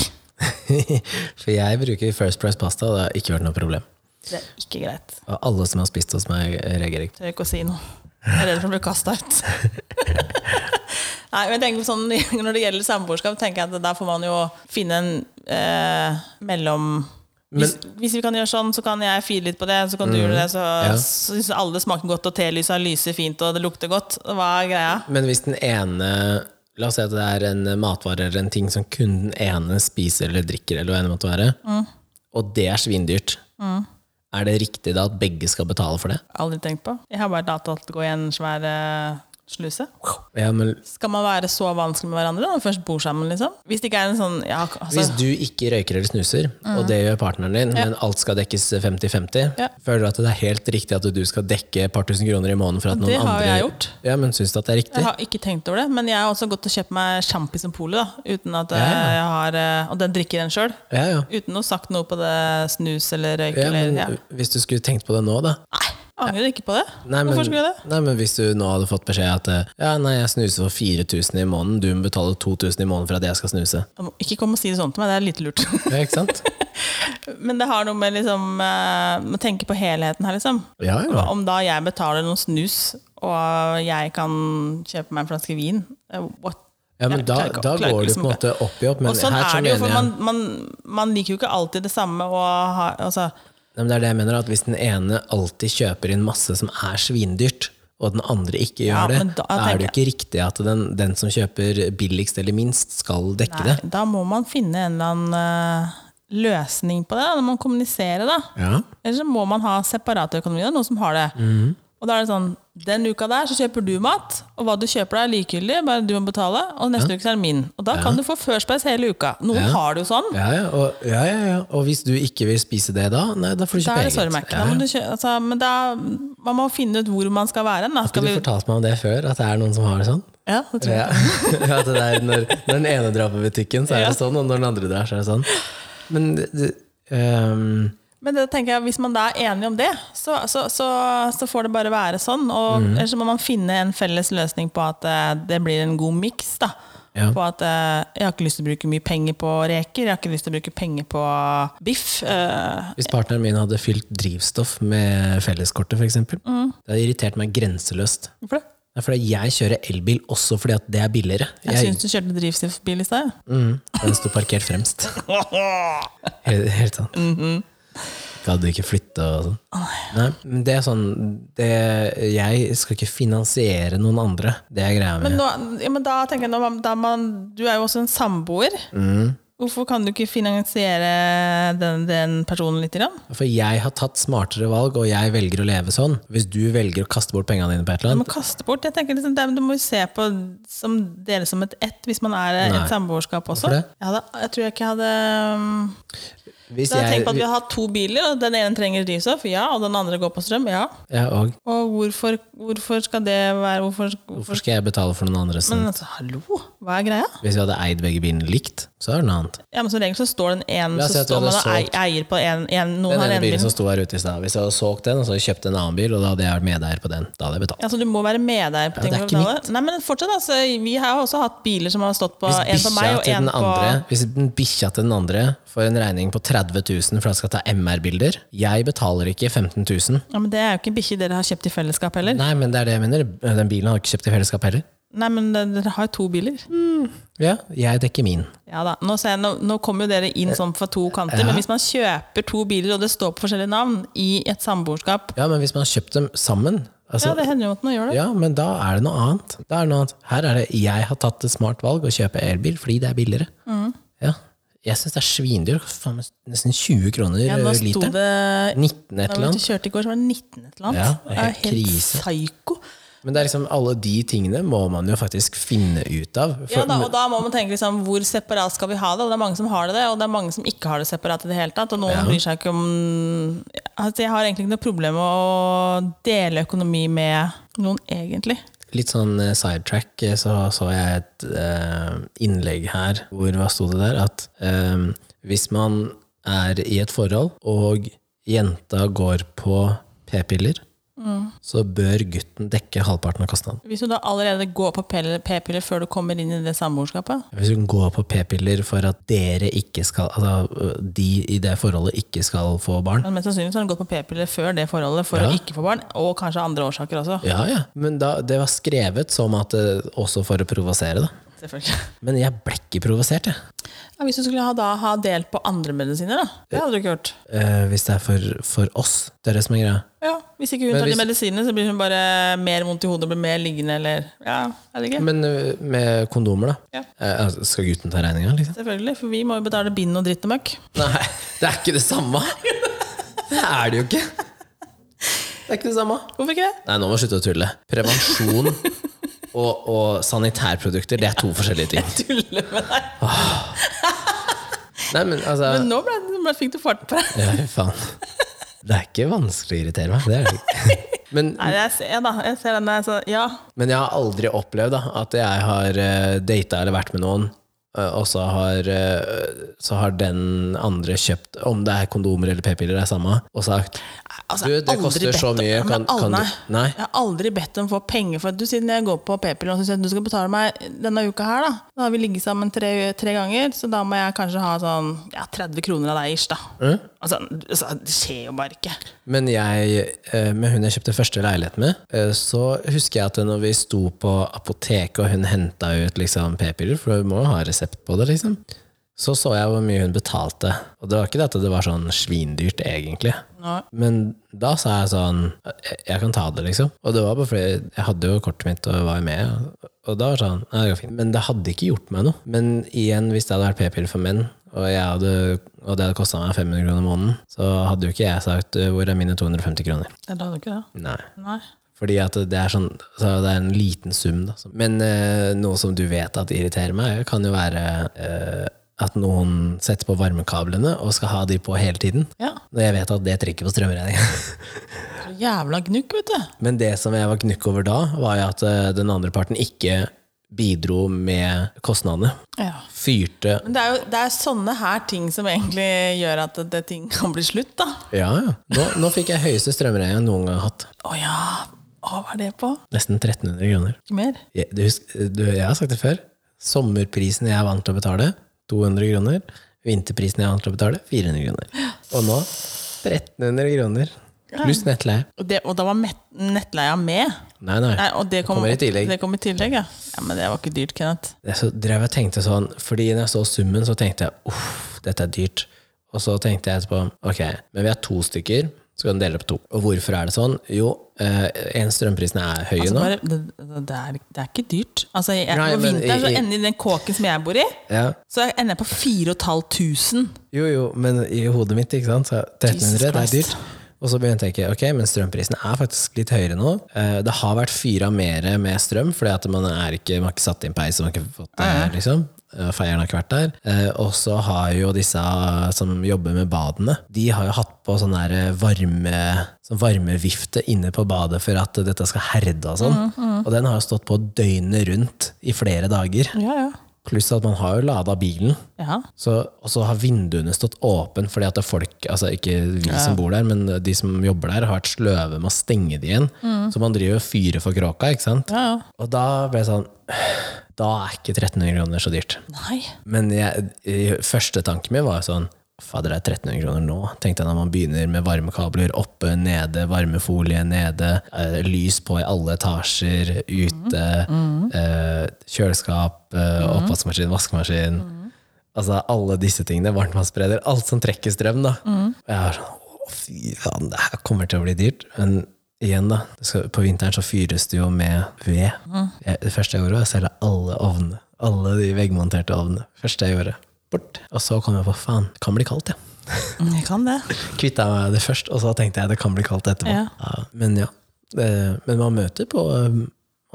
[SPEAKER 1] For jeg bruker First Price pasta, og det har ikke vært noe problem.
[SPEAKER 2] det er ikke greit.
[SPEAKER 1] Og alle som har spist hos meg, reagerer ikke.
[SPEAKER 2] Tør ikke å si noe. Jeg er redd for å bli kasta ut. Nei, men jeg tenker sånn, Når det gjelder samboerskap, tenker jeg at da får man jo finne en eh, mellom hvis, hvis vi kan gjøre sånn, så kan jeg fire litt på det. Så kan du gjøre det, så
[SPEAKER 1] Mm. ja.
[SPEAKER 2] så syns alle det smaker godt, og telysa lyser fint, og det lukter godt. Hva er greia?
[SPEAKER 1] Men hvis den ene La oss si at det er en matvare eller en ting som kun den ene spiser eller drikker, eller hva enn det måtte være, og det er svindyrt, er det riktig da at begge skal betale for det?
[SPEAKER 2] Aldri tenkt på. Jeg har bare latt alt gå i en svær eh, sluse.
[SPEAKER 1] Ja, men
[SPEAKER 2] Skal man være så vanskelig med hverandre når man først bor sammen? liksom? Hvis det ikke er en sånn ja, altså,
[SPEAKER 1] hvis du ikke røyker eller snuser, og det gjør partneren din, men alt skal dekkes 50-50,
[SPEAKER 2] Ja.
[SPEAKER 1] føler du at det er helt riktig at du skal dekke et par tusen kroner i måneden for at
[SPEAKER 2] Det
[SPEAKER 1] noen
[SPEAKER 2] har
[SPEAKER 1] andre
[SPEAKER 2] jeg gjort.
[SPEAKER 1] Ja, men syns du at det er riktig?
[SPEAKER 2] Jeg har ikke tenkt over det, men jeg har også gått og kjøpt meg sjampis og polo. da, uten at eh,
[SPEAKER 1] Ja, ja.
[SPEAKER 2] jeg har, eh, Og den drikker den sjøl.
[SPEAKER 1] Ja, ja.
[SPEAKER 2] Uten å ha sagt noe på det snus eller røyk.
[SPEAKER 1] ja
[SPEAKER 2] eller,
[SPEAKER 1] men
[SPEAKER 2] ja.
[SPEAKER 1] hvis du skulle tenkt på det nå, da?
[SPEAKER 2] Nei, angrer ikke på det.
[SPEAKER 1] Nei men,
[SPEAKER 2] Hvorfor skulle jeg det?
[SPEAKER 1] nei, men hvis du nå hadde fått beskjed at eh, ja, nei, jeg snuser for 4000 i måneden, du må betale 2000 i måneden for at jeg skal snuse.
[SPEAKER 2] Jeg må Ikke kom og si det sånn til meg, det er litt lurt.
[SPEAKER 1] Ja, ikke sant?
[SPEAKER 2] men det har noe med liksom, eh, med å tenke på helheten her, liksom.
[SPEAKER 1] Ja, ja.
[SPEAKER 2] Om da jeg betaler noen snus, og jeg kan kjøpe meg en flaske vin eh, what?
[SPEAKER 1] ja men
[SPEAKER 2] Jeg
[SPEAKER 1] da,
[SPEAKER 2] klarer ikke-
[SPEAKER 1] da
[SPEAKER 2] klarer
[SPEAKER 1] går det
[SPEAKER 2] liksom
[SPEAKER 1] på en
[SPEAKER 2] ikke.
[SPEAKER 1] måte opp i opp, men
[SPEAKER 2] og sånn
[SPEAKER 1] her så
[SPEAKER 2] er det jo,
[SPEAKER 1] mener
[SPEAKER 2] for
[SPEAKER 1] jeg
[SPEAKER 2] man, man, man liker jo ikke alltid det samme. Og ha, altså,
[SPEAKER 1] Nei, men Det er det jeg mener, at hvis den ene alltid kjøper inn masse som er svindyrt, og den andre ikke
[SPEAKER 2] Ja,
[SPEAKER 1] gjør det,
[SPEAKER 2] men da-
[SPEAKER 1] da er det
[SPEAKER 2] tenker
[SPEAKER 1] jo ikke riktig at den, den som kjøper billigst eller minst, skal dekke
[SPEAKER 2] nei,
[SPEAKER 1] det.
[SPEAKER 2] da må man finne en eller annen eh, løsning på det. Da må man kommunisere, da.
[SPEAKER 1] Ja. Mhm.
[SPEAKER 2] Eller så må man ha separate økonomier, noen som har det. Og da er det sånn, den uka der så kjøper du mat, og hva du kjøper deg er likegyldig, bare du må betale, og neste uke så er det min. Og da kan du få førspeis hele uka. Noen har det jo sånn.
[SPEAKER 1] Ja, ja, og, ja, ja, ja. og hvis du ikke vil spise det da, nei, da får du
[SPEAKER 2] Da
[SPEAKER 1] kjøpe
[SPEAKER 2] er det
[SPEAKER 1] eget.
[SPEAKER 2] sorry, Mac. Da
[SPEAKER 1] Ja,
[SPEAKER 2] må
[SPEAKER 1] ja.
[SPEAKER 2] du kjø altså, men da, man må finne ut hvor man skal være. hen, Da.
[SPEAKER 1] Har
[SPEAKER 2] Skal
[SPEAKER 1] ikke
[SPEAKER 2] vi,
[SPEAKER 1] du fortalt meg om det før, at det er noen som har det sånn?
[SPEAKER 2] ja, det tror jeg.
[SPEAKER 1] Ja. At det er når, når den ene drar på butikken, så er det sånn, og når den andre drar, så er det sånn. Men det- det, ehm,
[SPEAKER 2] Men det tenker jeg, hvis man da er enig om det, så, så, så, så får det bare være sånn. Og Ellers så må man finne en felles løsning på at eh, det blir en god miks. da.
[SPEAKER 1] Ja.
[SPEAKER 2] På at eh, jeg har ikke lyst til å bruke mye penger på reker, jeg har ikke lyst til å bruke penger på biff. eh,
[SPEAKER 1] hvis partneren min hadde fylt drivstoff med felleskortet, f.eks., eksempel det hadde irritert meg grenseløst.
[SPEAKER 2] Hvorfor det?
[SPEAKER 1] Det er fordi jeg kjører elbil også fordi at det er billigere.
[SPEAKER 2] Jeg
[SPEAKER 1] Jeg,
[SPEAKER 2] syns du kjørte drivstoffbil i stad. ja.
[SPEAKER 1] mm, den sto parkert fremst. Helt, helt sånn. Gadd ikke flytte og sånn. Nei, men det er sånn det, Jeg skal ikke finansiere noen andre. Det er greia mi.
[SPEAKER 2] Men, nå, ja, men da tenker jeg, nå, da man, du er jo også en samboer. Hvorfor kan du ikke finansiere den, den personen litt? Grann?
[SPEAKER 1] For jeg har tatt smartere valg, og jeg velger å leve sånn. Hvis du velger å kaste bort pengene dine på et eller
[SPEAKER 2] Du må
[SPEAKER 1] annet
[SPEAKER 2] kaste bort. Jeg tenker liksom, det, Du må jo se på som dere som et ett hvis man er
[SPEAKER 1] Nei.
[SPEAKER 2] et samboerskap også.
[SPEAKER 1] Hvorfor det?
[SPEAKER 2] Jeg, hadde, jeg tror jeg ikke hadde um,
[SPEAKER 1] Hvis
[SPEAKER 2] Da hadde jeg tenkt på at vi
[SPEAKER 1] jeg,
[SPEAKER 2] har hatt to biler, og den ene trenger drivstoff, ja, og den andre går på strøm, ja.
[SPEAKER 1] ja, og
[SPEAKER 2] Og hvorfor, hvorfor skal det være hvorfor,
[SPEAKER 1] hvorfor skal jeg betale for noen andres?
[SPEAKER 2] Men altså, hallo, hva er greia?
[SPEAKER 1] Hvis vi hadde eid begge bilene likt, så er det noe annet.
[SPEAKER 2] Ja, men Som regel så står den ene
[SPEAKER 1] La oss si
[SPEAKER 2] så
[SPEAKER 1] at vi
[SPEAKER 2] står man
[SPEAKER 1] hadde
[SPEAKER 2] og ei-
[SPEAKER 1] solgt
[SPEAKER 2] eier på en, en noen
[SPEAKER 1] Den
[SPEAKER 2] har
[SPEAKER 1] ene
[SPEAKER 2] en
[SPEAKER 1] bilen
[SPEAKER 2] bil.
[SPEAKER 1] som sto her ute i stad. Hvis jeg hadde solgt den, og så hadde jeg kjøpt en annen bil, og da hadde jeg vært medeier på den. Da hadde jeg betalt.
[SPEAKER 2] Ja, så du må være med der. på
[SPEAKER 1] Ja,
[SPEAKER 2] ting
[SPEAKER 1] det er
[SPEAKER 2] og
[SPEAKER 1] ikke
[SPEAKER 2] tale. Nei, men fortsatt, altså, Vi har jo også hatt biler som har stått på
[SPEAKER 1] Hvis
[SPEAKER 2] en for meg
[SPEAKER 1] bikkja til
[SPEAKER 2] og en
[SPEAKER 1] den
[SPEAKER 2] på
[SPEAKER 1] andre Hvis den bikkja til den andre får en regning på 30 000 for han skal ta MR-bilder Jeg betaler ikke 15 000.
[SPEAKER 2] Ja, men Det er jo ikke en bikkje dere har kjøpt i fellesskap heller.
[SPEAKER 1] Nei, men det er det jeg mener. Den bilen har jeg ikke kjøpt i fellesskap heller.
[SPEAKER 2] Nei, men de- dere har jo to biler.
[SPEAKER 1] Ja, jeg dekker min.
[SPEAKER 2] Ja da, Nå, ser jeg, nå, nå kommer jo dere inn sånn fra to kanter, men hvis man kjøper to biler, og det står på forskjellige navn i et samboerskap
[SPEAKER 1] Ja, men hvis man har kjøpt dem sammen
[SPEAKER 2] Ja,
[SPEAKER 1] altså,
[SPEAKER 2] det hender jo at man gjør det.
[SPEAKER 1] ja, men da er det noe annet. Da er det noe annet. Her er det jeg har tatt et smart valg å kjøpe elbil fordi det er billigere.
[SPEAKER 2] Mm.
[SPEAKER 1] Ja. Jeg syns det er svindyrt. Faen, Nesten 20 kroner
[SPEAKER 2] Ja,
[SPEAKER 1] eh,
[SPEAKER 2] nå sto
[SPEAKER 1] literen.
[SPEAKER 2] det
[SPEAKER 1] 19 et
[SPEAKER 2] Da
[SPEAKER 1] eller
[SPEAKER 2] vi
[SPEAKER 1] annet.
[SPEAKER 2] kjørte i går, så var det 19 et eller annet.
[SPEAKER 1] Ja, det er helt
[SPEAKER 2] Det er helt
[SPEAKER 1] krise.
[SPEAKER 2] psyko.
[SPEAKER 1] Men det er liksom, alle de tingene må man jo faktisk finne ut av. For,
[SPEAKER 2] Ja, da, og da må man tenke liksom, hvor separat skal vi ha det? Og det er mange som har det, det, og det er mange som ikke har det separat i det hele tatt. Og noen bryr seg ikke om altså, Jeg har egentlig ikke noe problem med å dele økonomi med noen, egentlig.
[SPEAKER 1] Litt sånn eh, sidetrack, eh, så så jeg et eh, innlegg her hvor hva sto det der? At eh, hvis man er i et forhold, og jenta går på p-piller, så bør gutten dekke halvparten av kostnaden.
[SPEAKER 2] Hvis du da allerede går på p- p-piller før du kommer inn i det samboerskapet
[SPEAKER 1] Hvis hun går på p-piller for at dere ikke skal altså, ø, de i det forholdet ikke skal få barn
[SPEAKER 2] men Mest sannsynlig så har hun gått på p-piller før det forholdet for å ikke få barn, og kanskje andre årsaker også.
[SPEAKER 1] Ja, ja. Men da, det var skrevet som at eh, også for å provosere, da.
[SPEAKER 2] Selvfølgelig.
[SPEAKER 1] Men jeg ble ikke provosert, jeg.
[SPEAKER 2] Ja, hvis du skulle ha, da, ha delt på andre medisiner, da? Det hadde du ikke gjort.
[SPEAKER 1] Eh, hvis det er for, for oss. Det er det som er greia.
[SPEAKER 2] Ja, Hvis ikke hun tar
[SPEAKER 1] hvis-
[SPEAKER 2] de medisinene, så blir hun bare mer vondt i hodet og blir mer liggende. eller... Ja, er det ikke?
[SPEAKER 1] Men ø, med kondomer, da?
[SPEAKER 2] Ja.
[SPEAKER 1] Eh, altså, skal gutten ta regninga, liksom?
[SPEAKER 2] Selvfølgelig, for vi må jo betale bind og dritt og møkk.
[SPEAKER 1] Nei, det er ikke det samme! Det er det jo ikke! Det er ikke det samme.
[SPEAKER 2] Hvorfor ikke det?
[SPEAKER 1] Nei, nå må jeg slutte å tulle. Prevensjon og, og sanitærprodukter, det er to forskjellige ting.
[SPEAKER 2] Tuller med deg.
[SPEAKER 1] Nei, men altså
[SPEAKER 2] Men nå ble, nå ble, fikk du fart på det.
[SPEAKER 1] Ja, fy faen. Det er ikke vanskelig å irritere meg. Det er det ikke. Men
[SPEAKER 2] Nei, jeg ser, da. Jeg ser den der, så ja.
[SPEAKER 1] Men jeg har aldri opplevd da, at jeg har uh, data eller vært med noen, eh, og så har, eh, så har den andre kjøpt, om det er kondomer eller p-piller, det er samme, og sagt
[SPEAKER 2] Altså,
[SPEAKER 1] Du,
[SPEAKER 2] jeg har
[SPEAKER 1] det
[SPEAKER 2] aldri
[SPEAKER 1] koster
[SPEAKER 2] bedt
[SPEAKER 1] så
[SPEAKER 2] om-
[SPEAKER 1] mye,
[SPEAKER 2] Ja, men
[SPEAKER 1] kan- kan du-
[SPEAKER 2] alle-
[SPEAKER 1] Nei.
[SPEAKER 2] Jeg har aldri bedt om å få penger for at du siden jeg går på p-piller og så sier at du skal betale meg denne uka her, da. Da har vi ligget sammen tre, tre ganger, så da må jeg kanskje ha sånn ja, 30 kroner av deg ish, da. Altså, altså, det skjer jo bare ikke.
[SPEAKER 1] Men jeg, eh, med hun jeg kjøpte første leilighet med, eh, så husker jeg at når vi sto på apoteket, og hun henta ut liksom p-piller, for hun må jo ha resept på det, liksom, så så jeg hvor mye hun betalte. Og det var ikke det at det var sånn svindyrt, egentlig.
[SPEAKER 2] Nå,
[SPEAKER 1] Men da sa jeg sånn Jeg jeg kan ta det, liksom. Og det var bare fordi jeg hadde jo kortet mitt og var med. Og da var det sånn Nei, det går fint. Men det hadde ikke gjort meg noe. Men igjen, hvis det hadde vært p-piller for menn, og, jeg hadde, og det hadde kosta meg 500 kroner i måneden, så hadde jo ikke jeg sagt «Øh, 'hvor er mine 250 kroner'?
[SPEAKER 2] eller hadde du ikke det?
[SPEAKER 1] Nei.
[SPEAKER 2] Nei.
[SPEAKER 1] Fordi at det er sånn så Det er en liten sum, da. Men eh, noe som du vet at irriterer meg, kan jo være eh, at noen setter på varmekablene og skal ha de på hele tiden.
[SPEAKER 2] Ja.
[SPEAKER 1] Når jeg vet at det trykker på strømregninga.
[SPEAKER 2] Så Jævla gnukk, vet du.
[SPEAKER 1] Men det som jeg var gnukk over da, var jo at eh, den andre parten ikke bidro med kostnadene.
[SPEAKER 2] Ja.
[SPEAKER 1] Fyrte
[SPEAKER 2] Men det er jo det er sånne her ting som egentlig gjør at det ting kan bli slutt, da.
[SPEAKER 1] Ja, ja. Nå, nå fikk jeg høyeste strømregning jeg noen gang har hatt.
[SPEAKER 2] Å ja! Å, hva er det på?
[SPEAKER 1] Nesten 1300 kroner.
[SPEAKER 2] Ikke mer?
[SPEAKER 1] Jeg, du, husk- du, jeg har sagt det før. Sommerprisen jeg er vant til å betale, 200 kroner. Vinterprisen jeg er vant til å betale, 400 kroner. Og nå 1300 kroner. Pluss nettleie.
[SPEAKER 2] Og, det, og da var met- nettleia med?
[SPEAKER 1] Nei, nei.
[SPEAKER 2] Nei, og det kom,
[SPEAKER 1] Kommer i tillegg.
[SPEAKER 2] Det kom i tillegg, ja. ja. Men det var ikke dyrt, Kenneth.
[SPEAKER 1] Jeg så drev og tenkte sånn, fordi når jeg så summen, så tenkte jeg uff, dette er dyrt. Og så tenkte jeg etterpå ok, men vi er to stykker, så kan du dele opp to. Og hvorfor er det sånn? Jo, eh, eh, en, strømprisene er høye
[SPEAKER 2] Altså
[SPEAKER 1] nå.
[SPEAKER 2] bare, det, det, er, det er ikke dyrt. Altså, jeg,
[SPEAKER 1] Nei,
[SPEAKER 2] på
[SPEAKER 1] men
[SPEAKER 2] vinteren så
[SPEAKER 1] i- i-
[SPEAKER 2] ender jeg i den kåken som jeg bor i,
[SPEAKER 1] Ja.
[SPEAKER 2] så jeg ender jeg på 4500.
[SPEAKER 1] Jo, jo, men i hodet mitt, ikke sant. Så 1300, det er
[SPEAKER 2] Jesus Christ.
[SPEAKER 1] dyrt. Og så begynte jeg ikke, ok, men strømprisene er faktisk litt høyere nå. Eh, Det har vært fyra mer med strøm, fordi at man, er ikke, man har ikke satt inn peis. og Man har ikke fått det, liksom. Eh, Feieren har ikke vært der. Eh, Og så har jo disse eh, som jobber med badene, de har jo hatt på sånn der varme, sånn varmevifte inne på badet for at dette skal herde og sånn.
[SPEAKER 2] Mm,
[SPEAKER 1] Og den har jo stått på døgnet rundt i flere dager.
[SPEAKER 2] Ja, ja.
[SPEAKER 1] Pluss at man har jo lada bilen.
[SPEAKER 2] ja.
[SPEAKER 1] Så, og så har vinduene stått åpne fordi at det er folk, altså ikke vi som bor der, men de som jobber der, har vært sløve med å stenge de igjen. Så man driver og fyrer for kråka, ikke sant?
[SPEAKER 2] ja, ja.
[SPEAKER 1] Og da ble jeg sånn Da er ikke 1300 kroner så dyrt.
[SPEAKER 2] Nei.
[SPEAKER 1] Men jeg, i- første tanken min var jo sånn Fader, det er 1300 kroner nå. Tenkte jeg når man begynner med varmekabler oppe, nede, varmefolie nede, eh, lys på i alle etasjer, ute, Eh, kjøleskap, eh, oppvaskmaskin, vaskemaskin. Altså alle disse tingene, varmtvannsspreder, alt som trekker strøm, da. Og jeg var sånn Å, fy faen, det her kommer til å bli dyrt. Men igjen, da. Det skal, på vinteren så fyres det jo med ved. Jeg, det første jeg gjorde, var å selge alle ovnene. Alle de veggmonterte ovnene. Første jeg gjorde. Bort. Og så kom jeg på faen, det kan bli kaldt, ja.
[SPEAKER 2] Mm, Jeg kan det.
[SPEAKER 1] Kvitta meg med det først, og så tenkte jeg det kan bli kaldt etterpå.
[SPEAKER 2] Ja.
[SPEAKER 1] Ja, men ja. Det, men man møter på um,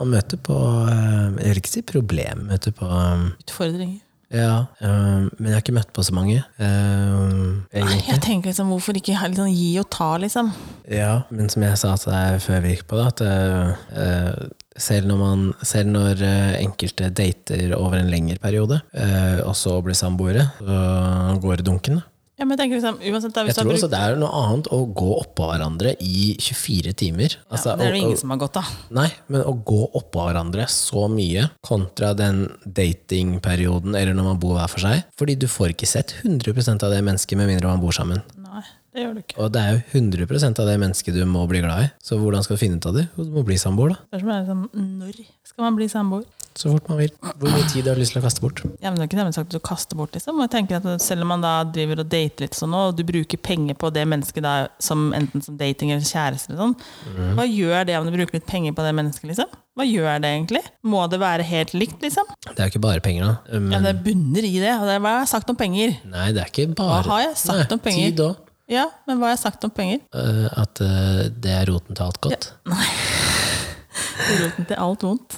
[SPEAKER 1] Man møter på um, Jeg vil ikke si problem, man møter på um,
[SPEAKER 2] Utfordringer.
[SPEAKER 1] ja, øhm, men jeg har ikke møtt på så mange. øhm,
[SPEAKER 2] Nei,
[SPEAKER 1] egentlig.
[SPEAKER 2] jeg tenker liksom, hvorfor ikke ha litt sånn gi og ta, liksom?
[SPEAKER 1] Ja, men som jeg sa til deg før vi gikk på, da, at øh, øh, selv når, man, selv når øh, enkelte dater over en lengre periode, øh, og så blir samboere, så går dunken. da.
[SPEAKER 2] Ja, men jeg tenker liksom, uansett da,
[SPEAKER 1] Jeg
[SPEAKER 2] hvis du
[SPEAKER 1] tror
[SPEAKER 2] har
[SPEAKER 1] også
[SPEAKER 2] brukt
[SPEAKER 1] det er noe annet å gå oppå hverandre i 24 timer.
[SPEAKER 2] ja,
[SPEAKER 1] Altså,
[SPEAKER 2] Det
[SPEAKER 1] å-
[SPEAKER 2] er det jo ingen
[SPEAKER 1] å-
[SPEAKER 2] som har gått av.
[SPEAKER 1] Nei, men å gå oppå hverandre så mye kontra den datingperioden eller når man bor hver for seg. Fordi du får ikke sett 100 av det mennesket med mindre man bor sammen.
[SPEAKER 2] Nei, det gjør du ikke.
[SPEAKER 1] Og det er jo 100 av det mennesket du må bli glad i. Så hvordan skal du finne ut av det? Jo, Du må bli samboer, da.
[SPEAKER 2] Spørsmålet er liksom, når skal man bli samboer?
[SPEAKER 1] Så fort man vil. Hvor mye tid du har lyst til å kaste bort.
[SPEAKER 2] Ja, men det er ikke nemlig sagt at du kaster bort, liksom. Og jeg tenker at selv om man da driver og dater litt sånn, og du bruker penger på det mennesket da, som enten som dating eller kjæreste eller sånn, hva gjør det om du bruker litt penger på det mennesket, liksom? Hva gjør det egentlig? Må det være helt likt, liksom? Mm.
[SPEAKER 1] Det er jo ikke bare penger, da. Um,
[SPEAKER 2] Ja, det bunner i det. Og det er hva jeg har sagt om penger.
[SPEAKER 1] Nei, det er ikke bare
[SPEAKER 2] Hva har jeg sagt om penger?
[SPEAKER 1] Tid òg.
[SPEAKER 2] Ja, men hva har jeg sagt om penger?
[SPEAKER 1] at eh, det er roten til alt godt.
[SPEAKER 2] Roten til alt vondt.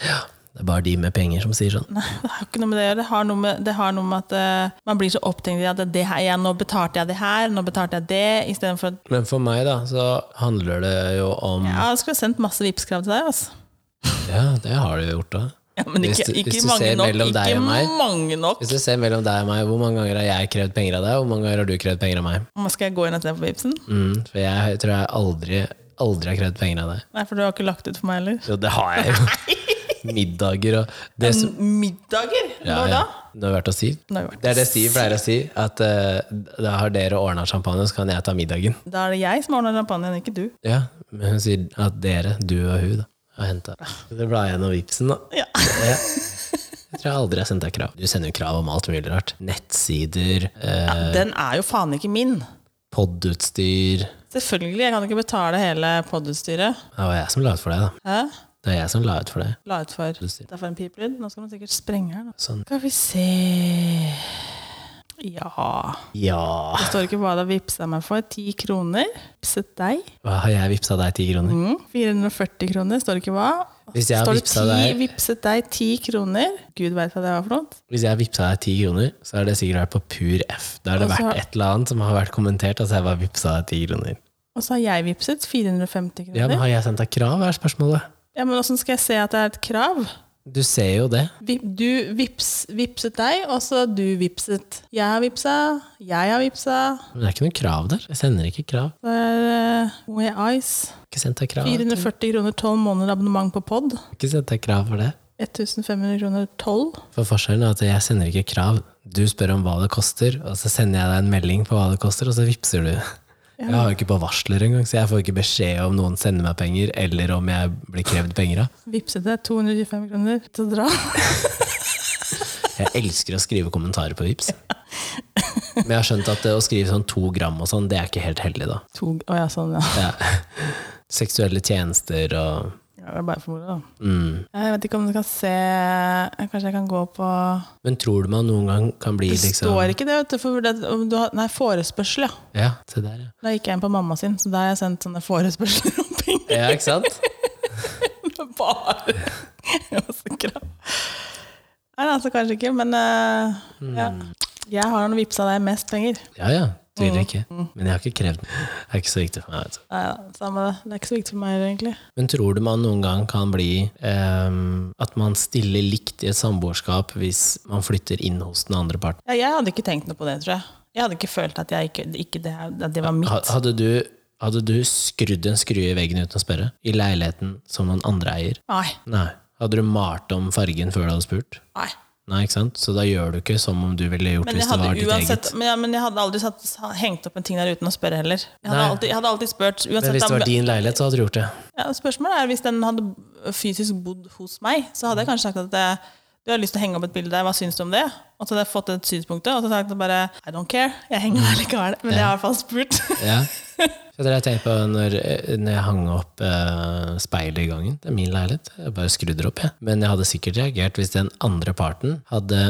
[SPEAKER 1] Det er bare de med penger som sier sånn.
[SPEAKER 2] Nei, det har ikke noe med det å gjøre. Det har noe med, det har noe med at eh, man blir så opptenkt i at det her, ja, nå betalte jeg det her, nå betalte jeg det, istedenfor at
[SPEAKER 1] Men for meg, da, så handler det jo om
[SPEAKER 2] ja, jeg skulle sendt masse Vipps-krav til deg, altså.
[SPEAKER 1] Ja, det har du gjort, da.
[SPEAKER 2] Ja, men
[SPEAKER 1] Hvis
[SPEAKER 2] ikke,
[SPEAKER 1] du- hvis
[SPEAKER 2] ikke
[SPEAKER 1] du
[SPEAKER 2] mange
[SPEAKER 1] ser
[SPEAKER 2] nok.
[SPEAKER 1] mellom deg
[SPEAKER 2] Ikke
[SPEAKER 1] og meg-
[SPEAKER 2] mange nok.
[SPEAKER 1] Hvis du ser mellom deg og meg, hvor mange ganger har jeg krevd penger av deg, og hvor mange ganger har du krevd penger av meg?
[SPEAKER 2] Nå skal jeg gå inn og se på Vipsen?
[SPEAKER 1] Mm, for jeg tror jeg aldri, aldri har krevd penger av deg.
[SPEAKER 2] Nei, for du har ikke lagt ut for meg heller.
[SPEAKER 1] Jo, det har jeg jo. Middager og det som,
[SPEAKER 2] Middager?
[SPEAKER 1] ja,
[SPEAKER 2] Når
[SPEAKER 1] ja.
[SPEAKER 2] da?
[SPEAKER 1] Det har vært å si.
[SPEAKER 2] Nå har jeg vært-
[SPEAKER 1] Det er det Siv pleier å si, at eh, da har dere ordna champagne, så kan jeg ta middagen.
[SPEAKER 2] Da er det jeg som ordner champagnen, ikke du.
[SPEAKER 1] Ja, Men hun sier at dere, du og hun, da, har henta. Det ble gjennom Vipsen, da.
[SPEAKER 2] Ja.
[SPEAKER 1] Ja. Jeg tror jeg aldri har sendt deg krav. Du sender jo krav om alt mulig rart. Nettsider, eh,
[SPEAKER 2] Den er jo faen ikke min.
[SPEAKER 1] podutstyr
[SPEAKER 2] Selvfølgelig, jeg kan ikke betale hele podutstyret.
[SPEAKER 1] Det var jeg som la ut for deg, da.
[SPEAKER 2] Hæ?
[SPEAKER 1] Det er jeg som la ut for deg.
[SPEAKER 2] La ut for
[SPEAKER 1] Podutstyr.
[SPEAKER 2] Det er for en piplyd. Nå skal man sikkert sprenge her. nå.
[SPEAKER 1] Sånn.
[SPEAKER 2] Skal vi se Ja
[SPEAKER 1] Ja.
[SPEAKER 2] Det står ikke hva du har vippsa meg for. Ti kroner. Vipset deg.
[SPEAKER 1] Hva har jeg vippsa deg ti kroner?
[SPEAKER 2] Mm. 440 kroner, står det ikke hva?
[SPEAKER 1] Hvis jeg har
[SPEAKER 2] står det
[SPEAKER 1] vippsa
[SPEAKER 2] ti,
[SPEAKER 1] deg-
[SPEAKER 2] vipset deg ti kroner. Gud veit hva det var for noe.
[SPEAKER 1] Hvis jeg vippsa deg ti kroner, så har det sikkert vært på pur F. Da har det
[SPEAKER 2] Og så-
[SPEAKER 1] vært et eller annet som har vært kommentert. Altså jeg bare vippsa deg 10 kroner.
[SPEAKER 2] Og så har jeg vippset 450
[SPEAKER 1] Ja, men
[SPEAKER 2] kroner. Ja,
[SPEAKER 1] Har jeg sendt deg krav, er spørsmålet.
[SPEAKER 2] Men åssen skal jeg se at det er et krav?
[SPEAKER 1] Du ser jo det.
[SPEAKER 2] Vip, du vips, vipset deg, og så du vipset. Jeg har vipsa, jeg har vipsa.
[SPEAKER 1] Men det er ikke noe krav der. Jeg sender ikke krav.
[SPEAKER 2] Så er det Way Ice.
[SPEAKER 1] Jeg har Ikke sendt deg krav. Jeg
[SPEAKER 2] 440 kroner 12 måneder abonnement på pod.
[SPEAKER 1] har Ikke sendt deg krav for det.
[SPEAKER 2] 1500 kroner 12.
[SPEAKER 1] For forskjellen er at jeg sender ikke krav. Du spør om hva det koster, og så sender jeg deg en melding på hva det koster, og så vippser du. Jeg har jo ikke på varsler engang, så jeg får ikke beskjed om noen sender meg penger, eller om jeg blir krevd penger av.
[SPEAKER 2] Vipset deg 225 kroner til å dra.
[SPEAKER 1] Jeg elsker å skrive kommentarer på Vipps. Men jeg har skjønt at det å skrive sånn to gram og sånn, det er ikke helt heldig, da.
[SPEAKER 2] To, å ja, sånn, ja.
[SPEAKER 1] Ja. seksuelle tjenester og
[SPEAKER 2] Ja, det er bare for moro, da.
[SPEAKER 1] mm.
[SPEAKER 2] Jeg vet ikke om du kan se Kanskje jeg kan gå på
[SPEAKER 1] Men tror du man noen gang kan bli
[SPEAKER 2] Det
[SPEAKER 1] liksom
[SPEAKER 2] står ikke det, vet du. For det, om du har, nei, forespørsel, ja.
[SPEAKER 1] Ja, se der, ja.
[SPEAKER 2] Da gikk jeg inn på mamma sin, så der har jeg sendt sånne forespørsler om penger.
[SPEAKER 1] Ja, ikke sant?
[SPEAKER 2] Bare Jeg var så krav. Nei, altså kanskje ikke, men eh, ja.
[SPEAKER 1] Mm.
[SPEAKER 2] Jeg har noen vipsa deg mest penger.
[SPEAKER 1] Ja, ja. Tviler ikke. Men jeg har ikke krevd det. Det er ikke så viktig for meg. Vet du.
[SPEAKER 2] Nei, da, samme det. Det er ikke så viktig for meg, egentlig.
[SPEAKER 1] Men tror du man noen gang kan bli ehm, at man stiller likt i et samboerskap hvis man flytter inn hos den andre parten?
[SPEAKER 2] Ja, jeg hadde ikke tenkt noe på det, tror jeg. Jeg hadde ikke følt at, jeg ikke, ikke det, at det var mitt.
[SPEAKER 1] Ha- Hadde du, hadde du skrudd en skrue i veggen uten å spørre? I leiligheten som noen andre eier?
[SPEAKER 2] Nei.
[SPEAKER 1] Nei. Hadde du malt om fargen før du hadde spurt?
[SPEAKER 2] nei.
[SPEAKER 1] Nei, ikke sant? Så da gjør du ikke som om du ville gjort
[SPEAKER 2] Men jeg,
[SPEAKER 1] hvis det
[SPEAKER 2] hadde
[SPEAKER 1] var ditt
[SPEAKER 2] uansett,
[SPEAKER 1] eget.
[SPEAKER 2] men, ja, men jeg hadde aldri satt, hengt opp en ting der uten å spørre heller. Jeg hadde,
[SPEAKER 1] Nei.
[SPEAKER 2] alltid, jeg hadde alltid spurt.
[SPEAKER 1] Men
[SPEAKER 2] Uansett,
[SPEAKER 1] hvis det
[SPEAKER 2] om-
[SPEAKER 1] var din leilighet, så hadde du gjort det.
[SPEAKER 2] ja, spørsmålet er hvis den hadde fysisk bodd hos meg, så hadde jeg kanskje sagt at eh, du har lyst til å henge opp et bilde der, hva syns du om det? Og så hadde jeg fått et synspunkt, og så hadde jeg sagt bare I don't care, jeg henger der likevel. Men jeg har i hvert fall spurt.
[SPEAKER 1] Ja. Så det har jeg tenkt på når, eh, når jeg hang opp eh, speilet i gangen. Det er min leilighet. Jeg bare skrudder opp, jeg. Men jeg hadde sikkert reagert hvis den andre parten hadde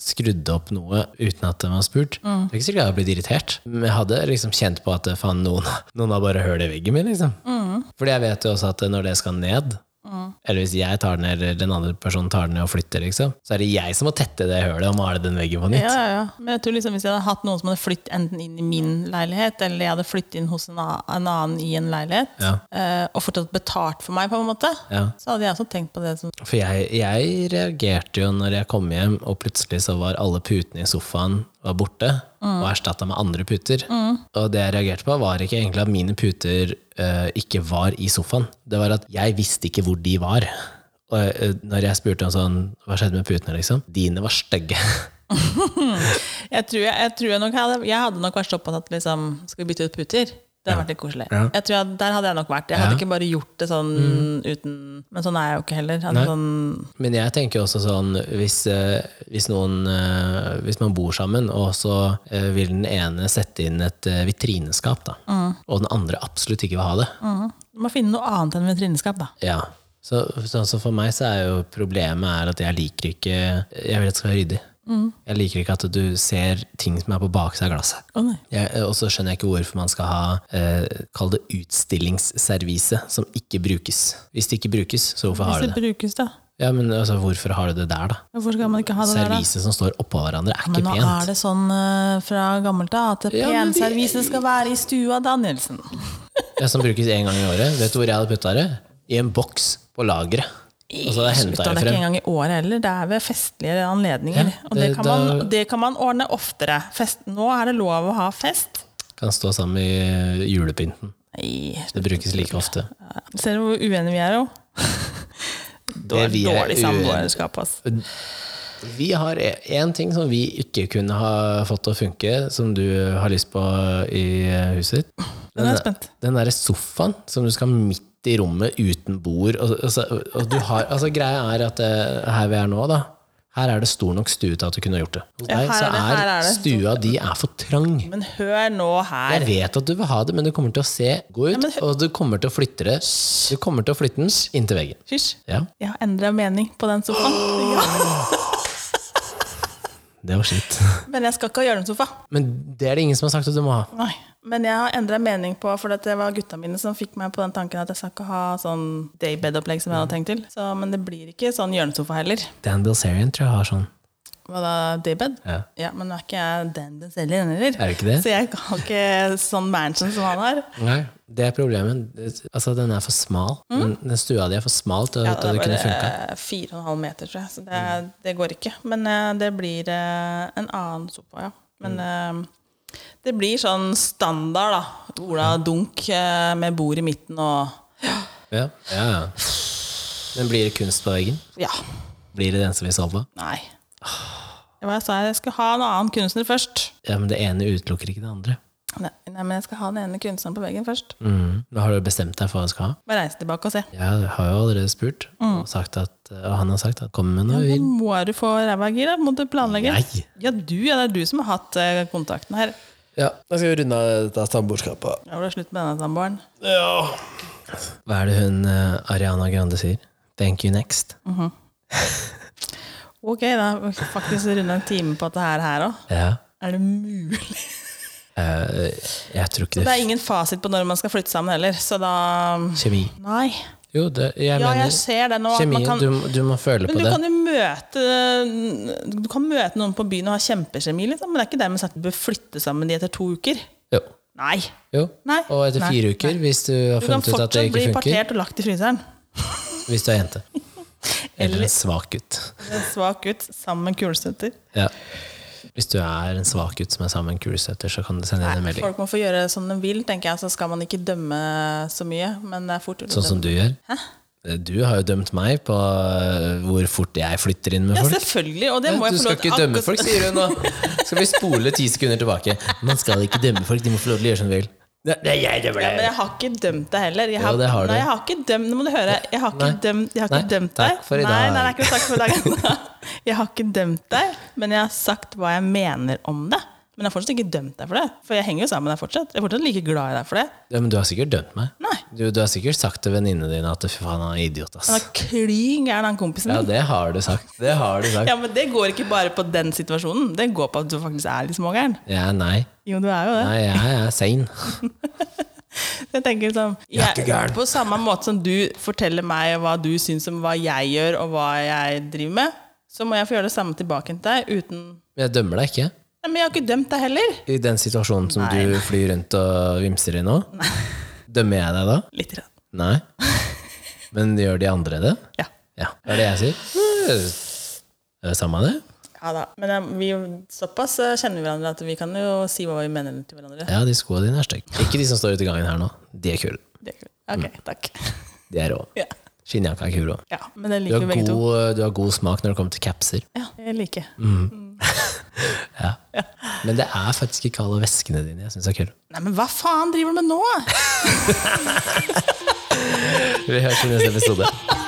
[SPEAKER 1] skrudd opp noe uten at de var spurt. Det er ikke sikkert jeg hadde blitt irritert, men jeg hadde liksom kjent på at eh, faen, noen, noen har bare hørt i veggen min, liksom. Fordi jeg vet jo også at eh, når det skal ned, eller hvis jeg tar den ned, eller den andre personen tar den ned og flytter, liksom, så er det jeg som må tette det hølet og male den veggen på nytt.
[SPEAKER 2] Ja, ja, ja. Men jeg tror liksom hvis jeg hadde hatt noen som hadde flyttet enten inn i min leilighet, eller jeg hadde flyttet inn hos en a- en annen i en leilighet,
[SPEAKER 1] Ja.
[SPEAKER 2] eh, og fortsatt betalt for meg, på en måte,
[SPEAKER 1] Ja.
[SPEAKER 2] så hadde jeg også tenkt på det som
[SPEAKER 1] For jeg, jeg reagerte jo når jeg kom hjem, og plutselig så var alle putene i sofaen var borte, og erstatta med andre puter. Og det jeg reagerte på, var ikke egentlig at mine puter eh, ikke var i sofaen. Det var at jeg visste ikke hvor de var. Og eh, når jeg spurte om sånn, hva skjedde med putene, liksom, dine var stygge.
[SPEAKER 2] Jeg tror, jeg, jeg, tror jeg, nok hadde, jeg hadde nok vært så opptatt at liksom, skal vi bytte ut puter? Det hadde vært litt koselig.
[SPEAKER 1] Ja.
[SPEAKER 2] Jeg tror jeg, der hadde jeg nok vært. Jeg hadde
[SPEAKER 1] Ja. Mm.
[SPEAKER 2] ikke bare gjort det sånn uten Men sånn er jeg jo ikke heller. At
[SPEAKER 1] Nei.
[SPEAKER 2] Sånn,
[SPEAKER 1] Men jeg tenker også sånn, hvis, eh, hvis noen eh, Hvis man bor sammen, og så eh, vil den ene sette inn et eh, vitrineskap, da, og den andre absolutt ikke vil ha det.
[SPEAKER 2] du må finne noe annet enn vitrineskap, da.
[SPEAKER 1] Ja. Så, så, så for meg så er jo problemet er at jeg liker ikke Jeg vil at det skal være ryddig.
[SPEAKER 2] Mm.
[SPEAKER 1] Jeg liker ikke at du ser ting som er på baksida av glasset.
[SPEAKER 2] Å nei.
[SPEAKER 1] Jeg, og så skjønner jeg ikke hvorfor man skal ha eh, Kall det utstillingsservise som ikke brukes. Hvis det ikke brukes, så hvorfor har du
[SPEAKER 2] Hvis det
[SPEAKER 1] det?
[SPEAKER 2] brukes, da.
[SPEAKER 1] Ja, men altså, Hvorfor har du det der, da?
[SPEAKER 2] Hvorfor skal man ikke ha det der, da?
[SPEAKER 1] Servise som står oppå hverandre, er
[SPEAKER 2] Men
[SPEAKER 1] ikke
[SPEAKER 2] nå er
[SPEAKER 1] pent.
[SPEAKER 2] det sånn eh, fra gammelt av at
[SPEAKER 1] Ja, men vi-
[SPEAKER 2] penservisen skal være i stua, Danielsen.
[SPEAKER 1] Det som brukes én gang i året. Vet du hvor jeg hadde putta det? I en boks på lageret. Og så henta
[SPEAKER 2] Slutta
[SPEAKER 1] jeg
[SPEAKER 2] det ikke
[SPEAKER 1] frem.
[SPEAKER 2] engang i året heller. Det er ved festlige anledninger.
[SPEAKER 1] Ja,
[SPEAKER 2] og det
[SPEAKER 1] det-
[SPEAKER 2] kan, man,
[SPEAKER 1] da-
[SPEAKER 2] det kan man ordne oftere. Fest, nå er det lov å ha fest.
[SPEAKER 1] Kan stå sammen i julepynten.
[SPEAKER 2] Nei,
[SPEAKER 1] Det brukes like ofte.
[SPEAKER 2] Ser du hvor uenige vi er, jo?
[SPEAKER 1] Det vi er
[SPEAKER 2] Dårlig samboerskap, ass.
[SPEAKER 1] Vi har én ting som vi ikke kunne ha fått til å funke, som du har lyst på eh, i huset ditt.
[SPEAKER 2] Nå er jeg spent.
[SPEAKER 1] Den derre sofaen som du skal midt i rommet uten bord. Og, og, så- og du har, altså, greia er at eh, her vi er nå, da. Her er det stor nok stue til at du kunne gjort det. Hos
[SPEAKER 2] Ja,
[SPEAKER 1] deg
[SPEAKER 2] her
[SPEAKER 1] så
[SPEAKER 2] er det- her er
[SPEAKER 1] er
[SPEAKER 2] det
[SPEAKER 1] stua di er for trang.
[SPEAKER 2] Men hør nå her.
[SPEAKER 1] Jeg vet at du vil ha det, men du kommer til å se gå ut, og du kommer til å flytte det. Du kommer til å flytte den inntil veggen.
[SPEAKER 2] Hysj.
[SPEAKER 1] Ja,
[SPEAKER 2] Jeg har endra mening på den sofaen.
[SPEAKER 1] det var skitt.
[SPEAKER 2] Men jeg skal ikke ha hjørnesofa.
[SPEAKER 1] Men det er det ingen som har sagt at du må ha.
[SPEAKER 2] Nei. Men jeg har endra mening på For det var gutta mine som fikk meg på den tanken at jeg skal ikke ha sånn daybed-opplegg som jeg hadde tenkt til. Så, men det blir ikke sånn hjørnesofa heller.
[SPEAKER 1] Dan Bilzerian tror jeg har sånn.
[SPEAKER 2] Hva da, daybed?
[SPEAKER 1] Ja.
[SPEAKER 2] Ja, men nå er ikke jeg den den selger, den heller.
[SPEAKER 1] Er det ikke det?
[SPEAKER 2] Så jeg har ikke sånn mansion som han har.
[SPEAKER 1] Nei, det er problemet. Altså, den er for smal. Den, den stua di er for smal til
[SPEAKER 2] Mm. Ja,
[SPEAKER 1] at det,
[SPEAKER 2] det
[SPEAKER 1] kunne
[SPEAKER 2] er
[SPEAKER 1] funka.
[SPEAKER 2] bare 4,5 meter, tror jeg. Så det, det går ikke. Men eh, det blir eh, en annen sofa, ja. Men
[SPEAKER 1] Mm.
[SPEAKER 2] eh, det blir sånn standard, da. Ola Dunk eh, med bord i midten og
[SPEAKER 1] Ja, ja, ja. Men blir det kunst på veggen?
[SPEAKER 2] Ja.
[SPEAKER 1] Blir det den som vi så på?
[SPEAKER 2] Nei. Det var jeg sa, jeg skulle ha en annen kunstner først.
[SPEAKER 1] Ja, men det ene utelukker ikke det andre.
[SPEAKER 2] Nei, nei, men jeg skal ha den ene kunstneren på veggen først.
[SPEAKER 1] Mm. Nå har du bestemt deg for hva du skal ha?
[SPEAKER 2] Bare reise tilbake og se.
[SPEAKER 1] Jeg har jo allerede spurt,
[SPEAKER 2] Mm.
[SPEAKER 1] og, sagt at, og han har sagt at kom med noe.
[SPEAKER 2] Nå
[SPEAKER 1] vi-
[SPEAKER 2] må du få ræva i gir, da. Må du planlegge.
[SPEAKER 1] Nei.
[SPEAKER 2] Ja, du, ja, det er du som har hatt eh, kontakten her.
[SPEAKER 1] Ja, da skal vi runde av dette samboerskapet.
[SPEAKER 2] Ja, det er slutt med denne samboeren.
[SPEAKER 1] Ja. Hva er det hun eh, Ariana Grande sier? Thank you next.
[SPEAKER 2] Mm. Ok, da har vi faktisk runde en time på dette her her òg.
[SPEAKER 1] Ja.
[SPEAKER 2] Er det mulig?
[SPEAKER 1] Eh, jeg tror ikke
[SPEAKER 2] Det
[SPEAKER 1] det,
[SPEAKER 2] er ingen fasit på når man skal flytte sammen heller, så da
[SPEAKER 1] Kjemi.
[SPEAKER 2] Nei.
[SPEAKER 1] Jo, det, jeg
[SPEAKER 2] Ja,
[SPEAKER 1] mener
[SPEAKER 2] jeg ser det nå. at
[SPEAKER 1] kjemi.
[SPEAKER 2] man kan,
[SPEAKER 1] du, du må føle
[SPEAKER 2] men
[SPEAKER 1] på
[SPEAKER 2] du
[SPEAKER 1] det.
[SPEAKER 2] kan jo møte Du kan møte noen på byen og ha kjempekjemi, liksom, men det er ikke dermed sagt at du bør flytte sammen med de etter to uker.
[SPEAKER 1] Jo.
[SPEAKER 2] Nei.
[SPEAKER 1] jo.
[SPEAKER 2] Nei.
[SPEAKER 1] Og etter
[SPEAKER 2] Nei.
[SPEAKER 1] fire uker, hvis du har
[SPEAKER 2] Du kan
[SPEAKER 1] funnet ut at det
[SPEAKER 2] fortsatt
[SPEAKER 1] ikke
[SPEAKER 2] bli
[SPEAKER 1] funker.
[SPEAKER 2] partert og lagt i fryseren.
[SPEAKER 1] Hvis du er jente. Eller
[SPEAKER 2] Eller-
[SPEAKER 1] en svak gutt.
[SPEAKER 2] Svak gutt sammen med kulestøtter.
[SPEAKER 1] Ja. Hvis du er en svak gutt som er sammen med en kulestøtter, så kan du sende inn en melding.
[SPEAKER 2] Folk må få gjøre som de vil, tenker jeg, så skal man ikke dømme så mye. Men det er fort gjort å
[SPEAKER 1] Sånn som
[SPEAKER 2] dømme.
[SPEAKER 1] du gjør. Eh, Du har jo dømt meg på øh, hvor fort jeg flytter inn med
[SPEAKER 2] Ja,
[SPEAKER 1] folk.
[SPEAKER 2] selvfølgelig, og det må
[SPEAKER 1] Du
[SPEAKER 2] jeg få
[SPEAKER 1] skal
[SPEAKER 2] lov
[SPEAKER 1] ikke dømme
[SPEAKER 2] akkurat- sånn.
[SPEAKER 1] folk, sier hun nå. Skal vi spole ti sekunder tilbake? Man skal ikke dømme folk, de må få lov til å gjøre som de vil. Det er jeg dømmer
[SPEAKER 2] Ja, men
[SPEAKER 1] deg!
[SPEAKER 2] jeg har ikke dømt deg heller. Jeg
[SPEAKER 1] Jo, det har du.
[SPEAKER 2] Nei, jeg har ikke dømt, nå må du høre. Jeg har ikke
[SPEAKER 1] Nei.
[SPEAKER 2] dømt, jeg har ikke
[SPEAKER 1] Nei,
[SPEAKER 2] dømt deg.
[SPEAKER 1] takk for i
[SPEAKER 2] Nei,
[SPEAKER 1] dag.
[SPEAKER 2] nei, det er ikke noe takk for i dag. Jeg har ikke dømt deg, men jeg har sagt hva jeg mener om det. Men jeg har fortsatt ikke dømt deg for det, for jeg henger jo sammen med deg fortsatt. Jeg er fortsatt like glad i deg for det.
[SPEAKER 1] Ja, men du har sikkert dømt meg.
[SPEAKER 2] Nei.
[SPEAKER 1] Du, du har sikkert sagt til venninnene dine at fy faen, han er idiot,
[SPEAKER 2] Han
[SPEAKER 1] ass.
[SPEAKER 2] er klin gæren, han kompisen
[SPEAKER 1] Ja,
[SPEAKER 2] min.
[SPEAKER 1] det har du sagt. Det har du sagt.
[SPEAKER 2] Ja, men det går ikke bare på den situasjonen. Det går på at du faktisk er litt smågæren.
[SPEAKER 1] Ja, nei.
[SPEAKER 2] Jo, du er jo det.
[SPEAKER 1] Nei, jeg er sein.
[SPEAKER 2] Jeg tenker liksom
[SPEAKER 1] Jeg er ikke gæren.
[SPEAKER 2] På samme måte som du forteller meg hva du syns om hva jeg gjør, og hva jeg driver med, så må jeg få gjøre det samme tilbake til deg uten
[SPEAKER 1] Men jeg dømmer deg ikke.
[SPEAKER 2] Nei, men jeg har ikke dømt deg heller!
[SPEAKER 1] I den situasjonen som du flyr rundt og vimser i nå? Dømmer jeg deg da?
[SPEAKER 2] Litt. grann.
[SPEAKER 1] Nei. Men gjør de andre det?
[SPEAKER 2] Ja.
[SPEAKER 1] Ja. Det er det jeg sier. Eh, Er det samme det?
[SPEAKER 2] ja da. Men eh, vi, såpass eh, kjenner vi hverandre at vi kan jo si hva vi mener til hverandre.
[SPEAKER 1] Ja, de skoene dine er stygge. Ikke de som står ute i gangen her nå. De er kule.
[SPEAKER 2] Det er kult.
[SPEAKER 1] Mm.
[SPEAKER 2] Ok, takk.
[SPEAKER 1] De er rå.
[SPEAKER 2] Ja.
[SPEAKER 1] Skinnjakka er kul òg.
[SPEAKER 2] ja. Men det
[SPEAKER 1] Du,
[SPEAKER 2] liker
[SPEAKER 1] har
[SPEAKER 2] vi begge to.
[SPEAKER 1] god- eh, du har god smak når det kommer til capser.
[SPEAKER 2] Ja, jeg liker.
[SPEAKER 1] Mm. Men det er faktisk ikke alle veskene dine jeg syns er kule.
[SPEAKER 2] Nei, men hva faen driver du med nå?
[SPEAKER 1] Vi høres i neste episode.